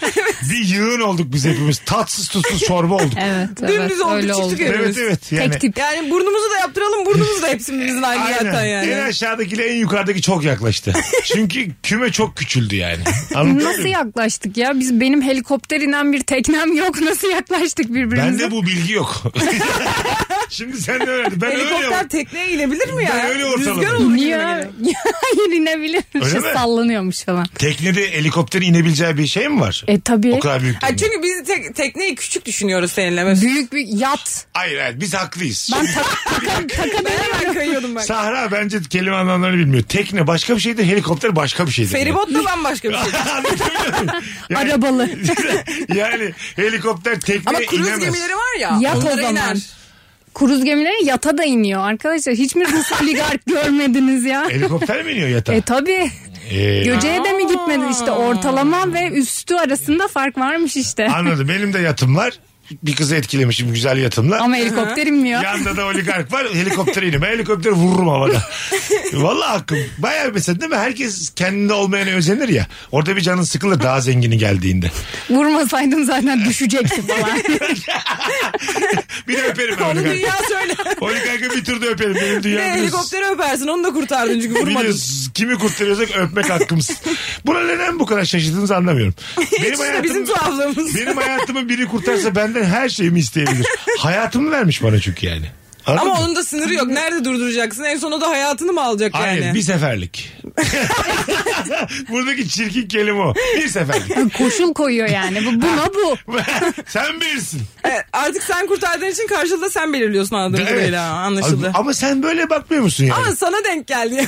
[SPEAKER 3] Bir yığın olduk biz hepimiz. Tatsız tutsuz çorba olduk.
[SPEAKER 5] Evet, evet
[SPEAKER 4] Dümdüz olduk
[SPEAKER 5] öyle
[SPEAKER 4] çıktık
[SPEAKER 5] oldu.
[SPEAKER 3] evet
[SPEAKER 4] hepimiz.
[SPEAKER 3] evet. Yani,
[SPEAKER 5] Tek tip.
[SPEAKER 4] Yani burnumuzu da yaptıralım burnumuz da hepsimizin aynı zaten yani.
[SPEAKER 3] En aşağıdakiyle en yukarıdaki çok yaklaştı. Çünkü küme çok küçüldü yani. Anladın
[SPEAKER 5] Nasıl
[SPEAKER 3] mı?
[SPEAKER 5] yaklaştık ya? Biz benim helikopter inen bir teknem yok. *laughs* Nasıl yaklaştık birbirimize?
[SPEAKER 3] Bende bu bilgi yok. *laughs* Şimdi sen de öğrendin. Ben öyle
[SPEAKER 4] Helikopter
[SPEAKER 3] yap-
[SPEAKER 4] tekneye inebilir mi ya?
[SPEAKER 3] Ben öyle ortaladım.
[SPEAKER 4] Rüzgar olur gibi
[SPEAKER 5] Ya,
[SPEAKER 4] geliyor.
[SPEAKER 5] *laughs* hayır inebilir.
[SPEAKER 3] Öyle
[SPEAKER 5] Şey
[SPEAKER 3] mi?
[SPEAKER 5] sallanıyormuş falan.
[SPEAKER 3] Teknede helikopterin inebileceği bir şey mi var?
[SPEAKER 5] E tabii.
[SPEAKER 3] O kadar büyük. değil
[SPEAKER 4] Ha,
[SPEAKER 3] mi?
[SPEAKER 4] çünkü biz tek, tekneyi küçük düşünüyoruz seninle. Mesela.
[SPEAKER 5] Büyük bir yat.
[SPEAKER 3] Hayır hayır biz haklıyız.
[SPEAKER 5] Ben tak,
[SPEAKER 3] *laughs*
[SPEAKER 5] taka, taka
[SPEAKER 4] Ben hemen kayıyordum bak.
[SPEAKER 3] Sahra bence kelime anlamlarını bilmiyor. Tekne başka bir şeydir, helikopter başka bir şeydir.
[SPEAKER 4] Feribot da bambaşka bir şey.
[SPEAKER 3] *laughs* Anlatabiliyor muyum? yani,
[SPEAKER 5] arabalı.
[SPEAKER 3] yani *laughs* helikopter tekneye
[SPEAKER 4] Ama kruz
[SPEAKER 3] inemez.
[SPEAKER 4] gemileri var ya.
[SPEAKER 5] Yat o
[SPEAKER 4] onlara
[SPEAKER 5] zaman.
[SPEAKER 4] iner.
[SPEAKER 5] Kuruz gemileri yata da iniyor arkadaşlar. Hiç mi
[SPEAKER 3] *laughs*
[SPEAKER 5] Rus oligark görmediniz ya?
[SPEAKER 3] Helikopter mi iniyor yatağa?
[SPEAKER 5] E tabi.
[SPEAKER 3] Ee,
[SPEAKER 5] Göce'ye de mi gitmedin? İşte ortalama ve üstü arasında fark varmış işte.
[SPEAKER 3] anladım. Benim de yatım var. Bir kızı etkilemişim güzel yatımla.
[SPEAKER 5] Ama helikopter inmiyor.
[SPEAKER 3] Yanda da oligark var. Helikopter iniyor. Ben helikopteri vururum havada.
[SPEAKER 4] *laughs*
[SPEAKER 3] Vallahi hakkım. Bayağı mesela değil mi? Herkes kendinde olmayana özenir ya. Orada bir canın sıkılır daha zengini geldiğinde.
[SPEAKER 5] Vurmasaydım zaten düşecekti falan.
[SPEAKER 3] Bir de öperim ben
[SPEAKER 4] Onu
[SPEAKER 3] oligarkı.
[SPEAKER 4] dünya söyle.
[SPEAKER 3] Oligarkı bir turda öperim. Benim
[SPEAKER 4] Bir
[SPEAKER 3] dünya
[SPEAKER 4] de
[SPEAKER 3] biliyorsun.
[SPEAKER 4] helikopteri öpersin onu da kurtardın çünkü vurmadın.
[SPEAKER 3] Biliyorsunuz kimi kurtarıyorsak öpmek hakkımız. Buna neden bu kadar şaşırdığınızı
[SPEAKER 4] *laughs*
[SPEAKER 3] anlamıyorum. Benim
[SPEAKER 4] İşte bizim tuhaflığımız.
[SPEAKER 3] Benim hayatımı biri kurtarsa benden her şeyimi isteyebilir. Hayatımı vermiş bana çünkü yani. Anladın
[SPEAKER 4] Ama
[SPEAKER 3] mı?
[SPEAKER 4] onun da sınırı yok. Nerede durduracaksın? En son o da hayatını mı alacak
[SPEAKER 3] Hayır
[SPEAKER 4] yani?
[SPEAKER 3] bir seferlik.
[SPEAKER 4] *laughs*
[SPEAKER 3] Buradaki çirkin kelime o. Bir seferlik.
[SPEAKER 4] *laughs*
[SPEAKER 5] Koşul koyuyor yani. Bu, buna bu.
[SPEAKER 3] sen bilirsin.
[SPEAKER 4] Evet, E, artık sen kurtardığın için karşılığı da sen belirliyorsun anladığım kadarıyla. Anlaşıldı.
[SPEAKER 3] Ama sen böyle bakmıyor musun yani?
[SPEAKER 4] Ama sana
[SPEAKER 3] *laughs*
[SPEAKER 4] denk geldi.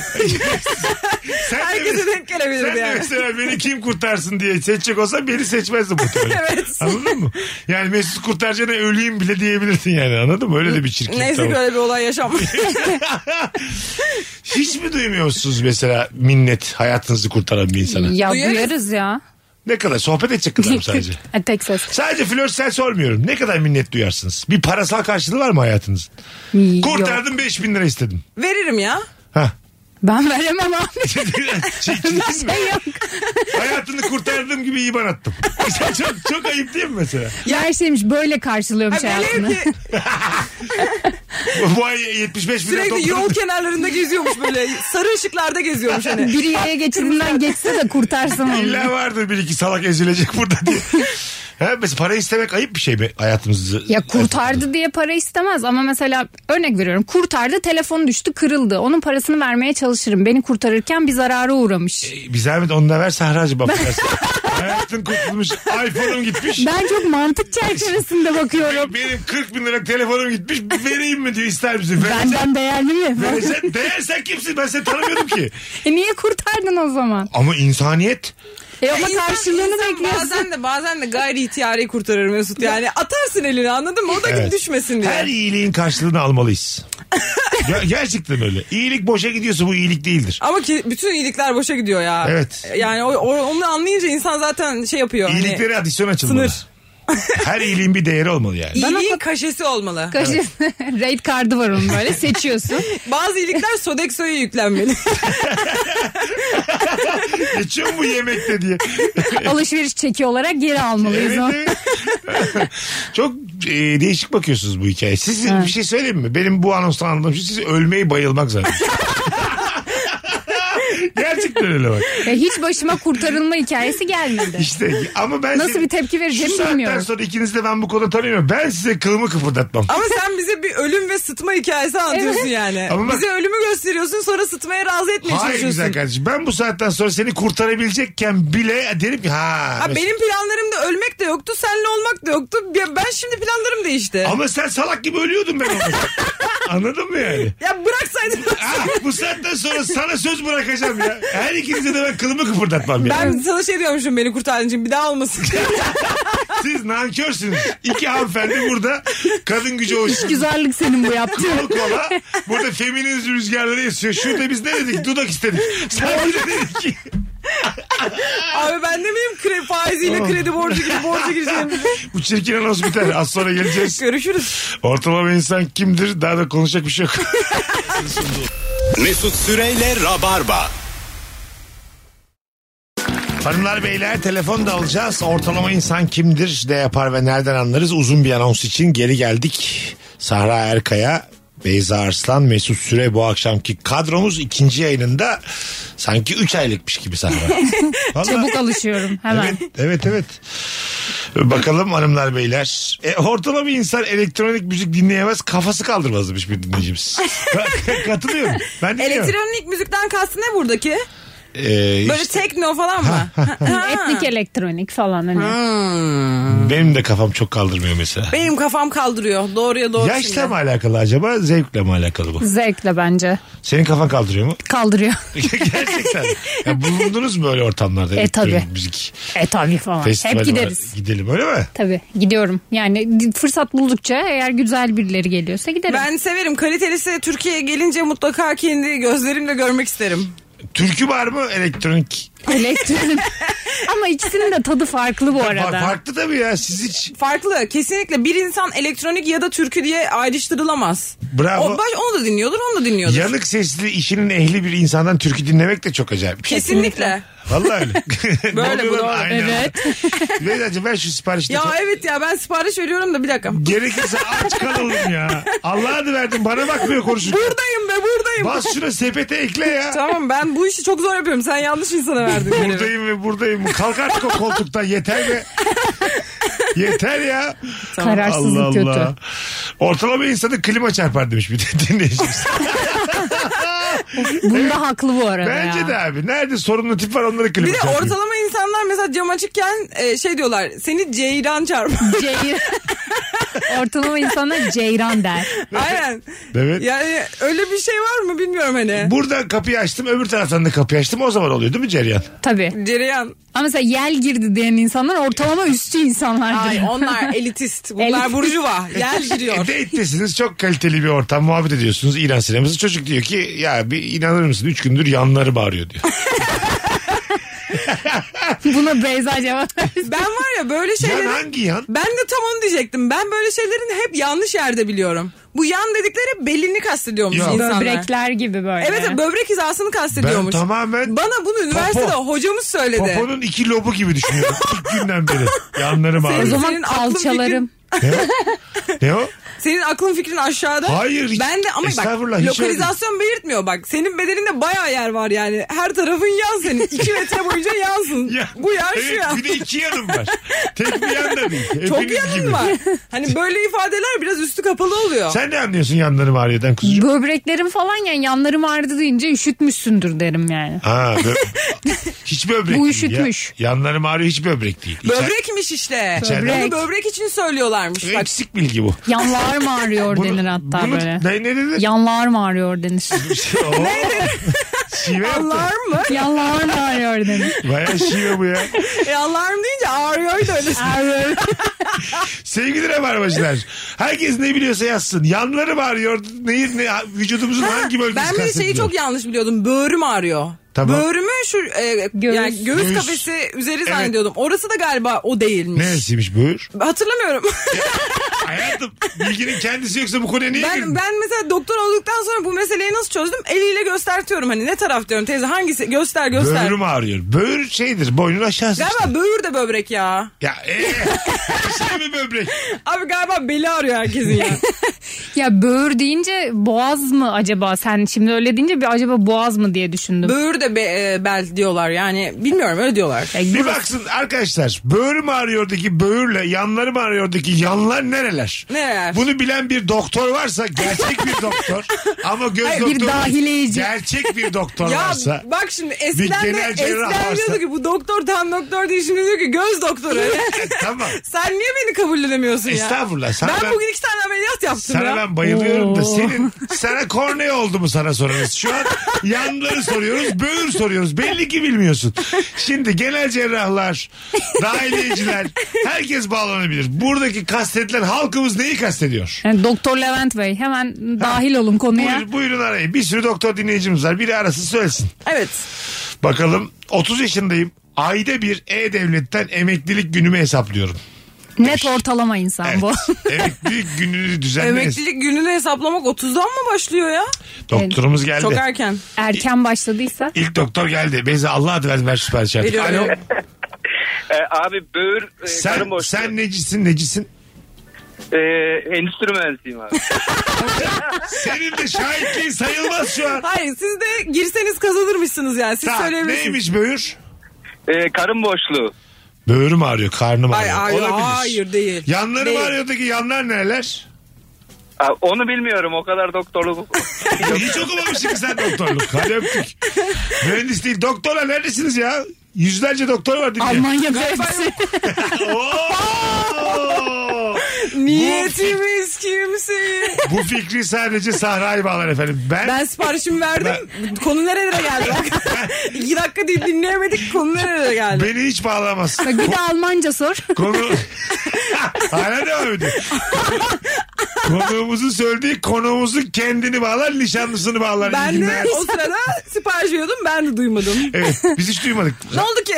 [SPEAKER 3] sen de
[SPEAKER 4] Herkese
[SPEAKER 3] mes-
[SPEAKER 4] denk gelebilirdi
[SPEAKER 3] Sen de
[SPEAKER 4] yani.
[SPEAKER 3] mesela beni kim kurtarsın diye seçecek olsa beni seçmezdin muhtemelen.
[SPEAKER 4] Evet.
[SPEAKER 3] Anladın mı? Yani Mesut kurtaracağına öleyim bile diyebilirsin yani anladın mı? Öyle de bir çirkin
[SPEAKER 4] Neyse
[SPEAKER 3] tavır.
[SPEAKER 4] ki öyle bir
[SPEAKER 3] *laughs*
[SPEAKER 4] olay yaşanmadı.
[SPEAKER 3] Hiç mi duymuyorsunuz mesela minnet hayatınızı kurtaran bir insana?
[SPEAKER 5] Ya
[SPEAKER 4] Duyarız.
[SPEAKER 5] duyarız ya.
[SPEAKER 3] Ne kadar sohbet edecek kadar
[SPEAKER 5] *laughs*
[SPEAKER 3] mı sadece?
[SPEAKER 5] Ha, Tek ses.
[SPEAKER 3] Sadece flörtsel sormuyorum. Ne kadar minnet duyarsınız? Bir parasal karşılığı var mı hayatınızın?
[SPEAKER 5] Yok.
[SPEAKER 3] Kurtardım 5000 lira istedim.
[SPEAKER 4] Veririm ya.
[SPEAKER 3] *laughs* Hah.
[SPEAKER 5] Ben veremem abi.
[SPEAKER 3] Çirkin mi?
[SPEAKER 5] Şey yok.
[SPEAKER 3] Hayatını kurtardığım gibi iban attım. *laughs* çok, çok ayıp değil mi mesela?
[SPEAKER 5] Ya her şeymiş böyle karşılıyormuş
[SPEAKER 4] Ha, velev
[SPEAKER 5] hayatını.
[SPEAKER 4] ki
[SPEAKER 3] Bu ay 75 bin lira
[SPEAKER 4] sürekli
[SPEAKER 3] topladım.
[SPEAKER 4] yol kenarlarında geziyormuş böyle. Sarı ışıklarda geziyormuş hani.
[SPEAKER 5] Biri yaya geçidinden geçse de kurtarsın onu.
[SPEAKER 3] İlla vardır bir iki salak ezilecek burada diye.
[SPEAKER 5] *laughs*
[SPEAKER 3] Ha, mesela para istemek ayıp bir şey mi hayatımızı?
[SPEAKER 5] Ya kurtardı diye para istemez ama mesela örnek veriyorum kurtardı telefon düştü kırıldı onun parasını vermeye çalışırım beni kurtarırken bir zarara uğramış.
[SPEAKER 3] E, Bir zahmet onu da ver Sahra'cı bak. Hayatın kurtulmuş. iPhone'um gitmiş.
[SPEAKER 5] Ben çok mantık çerçevesinde bakıyorum.
[SPEAKER 3] Benim 40 bin lira telefonum gitmiş. Vereyim mi diyor ister misin? Versen,
[SPEAKER 5] Benden değerli mi?
[SPEAKER 3] versen, değersen kimsin? Ben seni tanımıyorum ki.
[SPEAKER 5] E niye kurtardın o zaman?
[SPEAKER 3] Ama insaniyet.
[SPEAKER 5] E ama
[SPEAKER 4] İnsan-
[SPEAKER 5] karşılığını
[SPEAKER 4] insan
[SPEAKER 5] bekliyorsun. *laughs*
[SPEAKER 4] Bazen de bazen de gayri ihtiyari kurtarır Mesut. Yani atarsın elini anladın mı? O da
[SPEAKER 3] Evet.
[SPEAKER 4] düşmesin diye.
[SPEAKER 3] Her iyiliğin karşılığını almalıyız. Ger- gerçekten öyle. İyilik boşa gidiyorsa bu iyilik değildir.
[SPEAKER 4] Ama ki bütün iyilikler boşa gidiyor ya.
[SPEAKER 3] Evet.
[SPEAKER 4] Yani o, o- onu anlayınca insan zaten şey yapıyor. hani-
[SPEAKER 3] İyilikleri adisyon açılmalı.
[SPEAKER 4] Sınır.
[SPEAKER 3] Her iyiliğin bir değeri olmalı yani.
[SPEAKER 4] İyiliğin kaşesi olmalı.
[SPEAKER 5] Kaşı, Raid kartı var onun böyle seçiyorsun.
[SPEAKER 4] Bazı iyilikler Sodexo'ya yüklenmeli.
[SPEAKER 3] Geçiyor mu bu yemekte diye.
[SPEAKER 5] Alışveriş çeki olarak geri almalıyız
[SPEAKER 3] Evet,
[SPEAKER 5] onu.
[SPEAKER 3] evet. *laughs* Çok e, değişik bakıyorsunuz bu hikayeye. Siz bir şey söyleyeyim mi? Benim bu anonstan anladığım şey siz ölmeyi bayılmak
[SPEAKER 5] *laughs*
[SPEAKER 3] zaten. Gerçekten öyle bak.
[SPEAKER 5] Ya E hiç başıma kurtarılma hikayesi gelmedi.
[SPEAKER 3] *laughs* İşte ama ben
[SPEAKER 5] Nasıl
[SPEAKER 3] seni-
[SPEAKER 5] bir tepki vereceğimi
[SPEAKER 3] şu saatten
[SPEAKER 5] bilmiyorum.
[SPEAKER 3] sonra ikiniz de ben bu konuda tanıyorum. Ben size kılımı kıpırdatmam.
[SPEAKER 4] Ama sen bize bir ölüm ve sıtma hikayesi anlatıyorsun yani.
[SPEAKER 3] Ama bak-
[SPEAKER 4] bize ölümü gösteriyorsun sonra sıtmaya razı etmeye
[SPEAKER 3] Hayır
[SPEAKER 4] çalışıyorsun.
[SPEAKER 3] güzel kardeşim. Ben bu saatten sonra seni kurtarabilecekken bile derim ki ha.
[SPEAKER 4] Ha,
[SPEAKER 3] mesela-
[SPEAKER 4] benim planlarımda ölmek de yoktu, senle olmak da yoktu. Ya Ben şimdi planlarım değişti.
[SPEAKER 3] Ama sen salak gibi ölüyordun ben onu.
[SPEAKER 5] *laughs*
[SPEAKER 3] Anladın mı yani?
[SPEAKER 4] Ya
[SPEAKER 3] *laughs*
[SPEAKER 4] bıraksaydın.
[SPEAKER 3] Ha, Ah, bu saatten sonra sana söz bırakacağım ya. Her ikinize de ben kılımı kıpırdatmam ya.
[SPEAKER 4] Ben sana şey diyormuşum beni kurtardığın için bir
[SPEAKER 3] *laughs*
[SPEAKER 4] daha olmasın.
[SPEAKER 3] Siz nankörsünüz. İki hanımefendi burada kadın gücü hoşsunuz.
[SPEAKER 5] Güzellik senin bu yaptığın.
[SPEAKER 3] Kola. Burada feminist rüzgarları esiyor. Şurada biz ne dedik? Dudak istedik. Sen bir de dedin ki.
[SPEAKER 4] Abi ben de miyim kredi faiziyle kredi borcu gibi
[SPEAKER 3] *laughs*
[SPEAKER 4] borcu gireceğim.
[SPEAKER 3] Bu çirkin anons biter. Az sonra geleceğiz.
[SPEAKER 4] Görüşürüz.
[SPEAKER 3] Ortalama insan kimdir? Daha da konuşacak bir şey yok.
[SPEAKER 2] Mesut Süreyle Rabarba.
[SPEAKER 3] Hanımlar beyler telefon da alacağız. Ortalama insan kimdir, ne yapar ve nereden anlarız? Uzun bir anons için geri geldik. Sahra Erkaya, Beyza Arslan, Mesut Süre bu akşamki kadromuz ikinci yayınında sanki 3 aylıkmış gibi Sahra. Vallahi-
[SPEAKER 5] *laughs* Çabuk alışıyorum hemen.
[SPEAKER 3] Evet, evet, evet. Bakalım hanımlar beyler. E, ortalama insan elektronik müzik dinleyemez, kafası kaldırmaz demiş bir dinleyicimiz. Katılıyorum. Ben dinliyorum.
[SPEAKER 4] Elektronik müzikten kastı ne buradaki?
[SPEAKER 3] E,
[SPEAKER 4] Böyle
[SPEAKER 3] işte
[SPEAKER 4] tekno falan mı?
[SPEAKER 5] Etnik elektronik falan hani.
[SPEAKER 3] benim de kafam çok kaldırmıyor mesela.
[SPEAKER 4] Benim kafam kaldırıyor. Doğruya doğru.
[SPEAKER 3] Yaşla
[SPEAKER 4] şimdi.
[SPEAKER 3] mı alakalı acaba? Zevkle mi alakalı bu?
[SPEAKER 5] Zevkle bence.
[SPEAKER 3] Senin kafan kaldırıyor mu?
[SPEAKER 5] Kaldırıyor.
[SPEAKER 3] Gerçekten. Ya bulundunuz mu böyle ortamlarda?
[SPEAKER 5] E, tabii.
[SPEAKER 3] Elektronik Müzik
[SPEAKER 5] e tabii falan.
[SPEAKER 3] festivali
[SPEAKER 5] Hep
[SPEAKER 3] var.
[SPEAKER 5] gideriz.
[SPEAKER 3] Gidelim öyle mi?
[SPEAKER 5] Tabii gidiyorum. Yani di- fırsat buldukça eğer güzel birileri geliyorsa giderim.
[SPEAKER 4] Ben severim. Kalitelisi Türkiye'ye gelince mutlaka kendi gözlerimle görmek isterim.
[SPEAKER 3] Türkü var mı elektronik?
[SPEAKER 4] *laughs*
[SPEAKER 5] Elektronik. Ama ikisinin de tadı farklı bu
[SPEAKER 3] Fa-
[SPEAKER 5] arada.
[SPEAKER 3] Farklı tabii ya siz hiç.
[SPEAKER 4] Farklı. Kesinlikle bir insan elektronik ya da türkü diye ayrıştırılamaz.
[SPEAKER 3] Bravo.
[SPEAKER 4] O, baş, onu da dinliyordur, onu da dinliyordur.
[SPEAKER 3] Yanık sesli işinin ehli bir insandan türkü dinlemek de çok acayip. bir şey.
[SPEAKER 4] Kesinlikle.
[SPEAKER 3] Vallahi öyle. *laughs* Ne
[SPEAKER 4] Böyle
[SPEAKER 3] oluyor
[SPEAKER 4] bu
[SPEAKER 3] lan?
[SPEAKER 4] doğru.
[SPEAKER 3] Aynen. *laughs*
[SPEAKER 5] Evet.
[SPEAKER 3] Beyzacığım ver şu siparişi. de
[SPEAKER 4] Ya
[SPEAKER 3] ko-
[SPEAKER 4] evet ya ben sipariş veriyorum da bir dakika.
[SPEAKER 3] Gerekirse aç kalalım ya. Allah'a adı verdim bana bakmıyor konuşurken.
[SPEAKER 4] Buradayım be buradayım.
[SPEAKER 3] Bas şuna sepete ekle ya.
[SPEAKER 4] Tamam ben bu işi çok zor yapıyorum. Sen yanlış
[SPEAKER 3] *laughs*
[SPEAKER 4] insana verdin. beni.
[SPEAKER 3] Buradayım ve buradayım. Kalk artık o koltuktan yeter be. yeter ya.
[SPEAKER 5] Kararsızlık kötü.
[SPEAKER 3] Ortalama insanı klima çarpar demiş bir de *laughs* dinleyicimiz.
[SPEAKER 5] Bunda haklı bu arada ya.
[SPEAKER 3] Bence de abi. Nerede sorunlu tip var onları klima
[SPEAKER 4] Bir de
[SPEAKER 3] çarpıyor.
[SPEAKER 4] ortalama insanlar mesela cam açıkken e, şey diyorlar. Seni ceyran *laughs* çarpar.
[SPEAKER 5] Ceyran.
[SPEAKER 3] *laughs*
[SPEAKER 5] Ortalama insana ceyran der.
[SPEAKER 4] Aynen.
[SPEAKER 3] Evet.
[SPEAKER 4] Yani öyle bir şey var mı bilmiyorum hani.
[SPEAKER 3] Buradan kapıyı açtım öbür taraftan da kapıyı açtım o zaman oluyor değil mi Ceryan?
[SPEAKER 5] Tabii.
[SPEAKER 4] Cereyan.
[SPEAKER 5] Ama mesela yel girdi diyen insanlar ortalama üstü insanlardır.
[SPEAKER 4] Ay
[SPEAKER 3] *laughs*
[SPEAKER 4] onlar elitist. Bunlar
[SPEAKER 5] Elitist.
[SPEAKER 4] burjuva. Yer
[SPEAKER 3] E,
[SPEAKER 4] giriyor.
[SPEAKER 3] Date'desiniz çok kaliteli bir ortam muhabbet ediyorsunuz İran sineması. Çocuk diyor ki ya bir inanır mısın 3 gündür yanları bağırıyor
[SPEAKER 4] *laughs*
[SPEAKER 3] diyor.
[SPEAKER 5] Buna Beyza
[SPEAKER 4] *laughs*
[SPEAKER 5] cevap versin.
[SPEAKER 4] Ben var ya böyle
[SPEAKER 3] yan
[SPEAKER 4] şeyleri...
[SPEAKER 3] hangi yan?
[SPEAKER 4] Ben de tam onu diyecektim. Ben böyle şeylerin hep yanlış yerde biliyorum. Bu yan dedikleri belini kastediyormuş
[SPEAKER 3] Yok.
[SPEAKER 4] insanlar.
[SPEAKER 5] Böbrekler gibi böyle.
[SPEAKER 4] Evet böbrek hizasını
[SPEAKER 3] Ben
[SPEAKER 4] kastediyormuş.
[SPEAKER 3] tamamen
[SPEAKER 4] Bana bunu üniversitede hocamız söyledi.
[SPEAKER 3] Poponun iki lobu gibi düşünüyorum. İlk günden beri. Yanlarım
[SPEAKER 5] o
[SPEAKER 3] ağrıyor.
[SPEAKER 5] zaman
[SPEAKER 4] Senin aklın
[SPEAKER 5] kalçalarım.
[SPEAKER 3] Ne o? Ne o?
[SPEAKER 4] Senin aklın fikrin aşağıda.
[SPEAKER 3] Hayır, hiç-
[SPEAKER 4] Ben de ama
[SPEAKER 3] Estağfurullah,
[SPEAKER 4] bak
[SPEAKER 3] hiç
[SPEAKER 4] lokalizasyon belirtmiyor bak. Senin bedeninde bayağı yer var yani. Her tarafın yan senin.
[SPEAKER 3] *laughs*
[SPEAKER 4] 2 metre boyunca yansın.
[SPEAKER 3] Ya-
[SPEAKER 4] Bu yan şu
[SPEAKER 3] evet,
[SPEAKER 4] yan.
[SPEAKER 3] Bir de iki yanım var. Tek bir yan da değil.
[SPEAKER 4] Çok
[SPEAKER 3] Hepiniz
[SPEAKER 4] yanın
[SPEAKER 3] gibi.
[SPEAKER 4] var. Hani böyle ifadeler biraz üstü kapalı oluyor.
[SPEAKER 3] Sen ne anlıyorsun yanlarım ağrıyordan kuzucuğum?
[SPEAKER 5] Böbreklerim falan yani yanlarım ağrıdı deyince üşütmüşsündür derim yani.
[SPEAKER 3] Ha,
[SPEAKER 4] *laughs*
[SPEAKER 3] bö- hiç böbrek
[SPEAKER 5] Bu
[SPEAKER 3] değil
[SPEAKER 5] üşütmüş.
[SPEAKER 3] Ya. Yanlarım ağrıyor hiç böbrek değil. İçer-
[SPEAKER 4] Böbrekmiş işte.
[SPEAKER 3] İçeriden-
[SPEAKER 4] Bunu böbrek için söylüyorlarmış. Bak
[SPEAKER 3] Eksik bilgi bu.
[SPEAKER 5] Yanlar mı ağrıyor
[SPEAKER 3] Bunu-
[SPEAKER 5] denir hatta
[SPEAKER 3] bunu-
[SPEAKER 5] böyle.
[SPEAKER 3] Ne, ne dedi? *laughs*
[SPEAKER 5] Yanlar mı ağrıyor denir.
[SPEAKER 3] Oo. *laughs* şive yaptı. *laughs*
[SPEAKER 4] alarm mı?
[SPEAKER 5] Yanlar mı ağrıyor denir.
[SPEAKER 3] Baya şive bu ya.
[SPEAKER 4] E, alarm deyince ağrıyor da öyle.
[SPEAKER 5] Ağrıyor.
[SPEAKER 3] Sevgili Rabarbacılar. Herkes ne biliyorsa yazsın. Yanları bağırıyor. Neyi, ne, vücudumuzun hangi bölgesi
[SPEAKER 4] ben bir şeyi
[SPEAKER 3] kastediliyor?
[SPEAKER 4] çok yanlış biliyordum. Böğrüm ağrıyor.
[SPEAKER 3] Tamam.
[SPEAKER 4] Böğrümü şu e,
[SPEAKER 5] Göğüs.
[SPEAKER 4] yani göğüs,
[SPEAKER 3] Göğüs.
[SPEAKER 4] kafesi üzeri zannediyordum. Orası da galiba o değilmiş.
[SPEAKER 3] Neresiymiş böğür?
[SPEAKER 4] Hatırlamıyorum.
[SPEAKER 3] Hayatım bilginin kendisi yoksa bu konuya niye girdin?
[SPEAKER 4] *laughs* Ben, ben mesela doktor olduktan sonra bu meseleyi nasıl çözdüm? Eliyle göstertiyorum hani ne taraf diyorum teyze hangisi göster göster.
[SPEAKER 3] Böğrüm ağrıyor. Böğür şeydir boynun aşağısı. işte.
[SPEAKER 4] Galiba böğür de böbrek ya.
[SPEAKER 3] Ya eee. şey mi böbrek?
[SPEAKER 4] Abi galiba beli ağrıyor herkesin ya.
[SPEAKER 5] Ya böğür deyince boğaz mı acaba? Sen şimdi öyle deyince bir acaba boğaz mı diye düşündüm.
[SPEAKER 4] böğür de be- e, bel diyorlar yani bilmiyorum öyle diyorlar.
[SPEAKER 5] Ya
[SPEAKER 3] Bir baksın arkadaşlar böğrüm ağrıyordaki böğürle yanlarım ağrıyordaki yanlar nereler?
[SPEAKER 4] Nereler?
[SPEAKER 3] Bunu bilen bir doktor varsa gerçek bir doktor ama göz
[SPEAKER 5] Hayır,
[SPEAKER 3] doktoru
[SPEAKER 5] bir dahileyici.
[SPEAKER 3] gerçek bir doktor
[SPEAKER 4] Ya
[SPEAKER 3] varsa
[SPEAKER 4] bak şimdi eskiden de
[SPEAKER 3] genel cerrah varsa-
[SPEAKER 4] eskiden diyordu ki bu doktor tam doktor değil şimdi diyor ki göz doktoru.
[SPEAKER 3] E, *laughs* tamam.
[SPEAKER 4] *laughs* Sen niye beni kabullenemiyorsun ya?
[SPEAKER 3] Estağfurullah, sana
[SPEAKER 4] Ben,
[SPEAKER 3] ben-
[SPEAKER 4] bugün iki tane ameliyat yaptım
[SPEAKER 3] Sana
[SPEAKER 4] ya.
[SPEAKER 3] ben bayılıyorum da
[SPEAKER 5] Oo.
[SPEAKER 3] senin sana kornea oldu mu sana sorarız. Şu an yanları soruyoruz, böğür soruyoruz. Belli ki bilmiyorsun. Şimdi genel cerrahlar, dahiliyeciler herkes bağlanabilir. Buradaki kastedilen halkımız neyi kastediyor?
[SPEAKER 5] Yani Doktor Levent Bey hemen dahil olun konuya.
[SPEAKER 3] Buyur, buyurun arayın. Bir sürü doktor dinleyicimiz var. Biri arasın söylesin.
[SPEAKER 4] Evet.
[SPEAKER 3] Bakalım 30 yaşındayım. Ayda bir E-Devlet'ten emeklilik günümü hesaplıyorum.
[SPEAKER 5] Net ortalama insan
[SPEAKER 3] Evet.
[SPEAKER 5] bu.
[SPEAKER 3] *laughs* emeklilik gününü düzenle.
[SPEAKER 4] Emeklilik gününü hesaplamak 30'dan mı başlıyor ya?
[SPEAKER 3] Doktorumuz geldi.
[SPEAKER 4] Çok erken.
[SPEAKER 5] *laughs* Erken başladıysa.
[SPEAKER 3] İlk doktor geldi. Beyza Allah adı ver, ver süper şart.
[SPEAKER 4] Veriyorum.
[SPEAKER 3] Alo.
[SPEAKER 6] E, abi böğür e,
[SPEAKER 3] Sen,
[SPEAKER 6] karın boşluğu.
[SPEAKER 3] sen necisin necisin?
[SPEAKER 6] E, endüstri mühendisiyim abi.
[SPEAKER 3] Senin de şahitliğin sayılmaz şu an.
[SPEAKER 4] Hayır siz de girseniz kazanırmışsınız yani. *laughs* Siz
[SPEAKER 3] Tamam,
[SPEAKER 4] söyleyebilirsiniz.
[SPEAKER 3] neymiş böğür?
[SPEAKER 6] E, karın boşluğu.
[SPEAKER 3] Böğrüm ağrıyor, karnım
[SPEAKER 4] Ay,
[SPEAKER 3] ağrıyor.
[SPEAKER 4] hayır,
[SPEAKER 3] Olabilir.
[SPEAKER 4] hayır değil.
[SPEAKER 3] Yanları
[SPEAKER 4] Değil.
[SPEAKER 3] ağrıyordaki yanlar neler?
[SPEAKER 6] Abi, onu bilmiyorum o kadar doktorluk.
[SPEAKER 3] Hiç okumamışsın ki sen doktorluk. Hadi öptük. Mühendis değil. Doktorlar neredesiniz ya? Yüzlerce doktor var dinleyen.
[SPEAKER 5] Almanya hepsi.
[SPEAKER 3] Oo!
[SPEAKER 4] Niyetimiz kimseyi.
[SPEAKER 3] Bu fikri sadece Sahra bağlar efendim. Ben,
[SPEAKER 4] Ben siparişimi verdim. Konu nerelere geldi?
[SPEAKER 3] *laughs*
[SPEAKER 4] İki dakika değil dinleyemedik. Konu nerelere geldi?
[SPEAKER 3] beni hiç bağlamaz.
[SPEAKER 5] Bak *laughs* bir de Almanca sor.
[SPEAKER 3] Konu... *laughs* Hala devam ediyor. Konuğumuzun söylediği konuğumuzun kendini bağlar, nişanlısını bağlar. İyi
[SPEAKER 4] Ben de
[SPEAKER 3] günler.
[SPEAKER 4] o sırada sipariş veriyordum. Ben de duymadım.
[SPEAKER 3] Evet, biz hiç duymadık.
[SPEAKER 4] ne oldu
[SPEAKER 3] *laughs*
[SPEAKER 4] ki?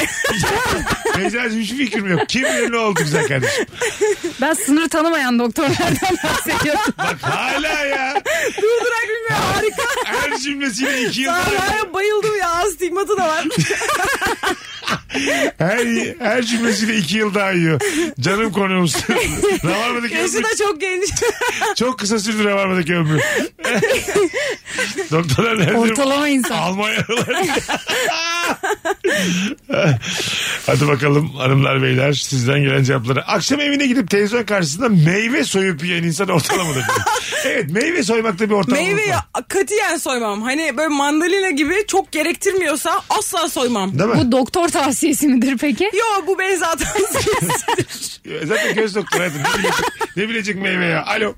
[SPEAKER 3] Beyza'cığım hiç fikrim yok. Kim bilir ne oldu güzel kardeşim.
[SPEAKER 5] Ben sınır tanımayan doktorlardan bahsediyorum.
[SPEAKER 3] Bak hala ya.
[SPEAKER 4] Durdurak bilmiyorum. Harika.
[SPEAKER 3] Her cümlesiyle iki yıl.
[SPEAKER 4] Sahra'ya bayıldım ya. Astigmatı
[SPEAKER 3] *laughs*
[SPEAKER 4] da var.
[SPEAKER 3] Her, her cümlesiyle iki yıl daha yiyor. Canım konuğumuz. Rabarba'daki
[SPEAKER 4] Yaşı
[SPEAKER 3] ömrü.
[SPEAKER 4] da çok genç.
[SPEAKER 3] Çok kısa sürdü Rabarba'daki ömrü.
[SPEAKER 5] *laughs*
[SPEAKER 3] Doktorlar nerede?
[SPEAKER 5] Ortalama insan.
[SPEAKER 3] Almanyalılar. Hadi bakalım hanımlar beyler sizden gelen cevapları. Akşam evine gidip televizyon karşısında meyve soyup yiyen insan ortalamadır. evet meyve soymakta bir ortalama.
[SPEAKER 4] Meyveyi katiyen soymam. Hani böyle mandalina gibi çok gerektirmiyorsa asla soymam.
[SPEAKER 3] Değil mi?
[SPEAKER 5] Bu doktor tavsiyesi midir peki?
[SPEAKER 4] Yo bu Beyza *laughs* tavsiyesi.
[SPEAKER 3] E, Zaten göz doktoru hayatım. Ne bilecek, ne bilecek meyve ya? Alo.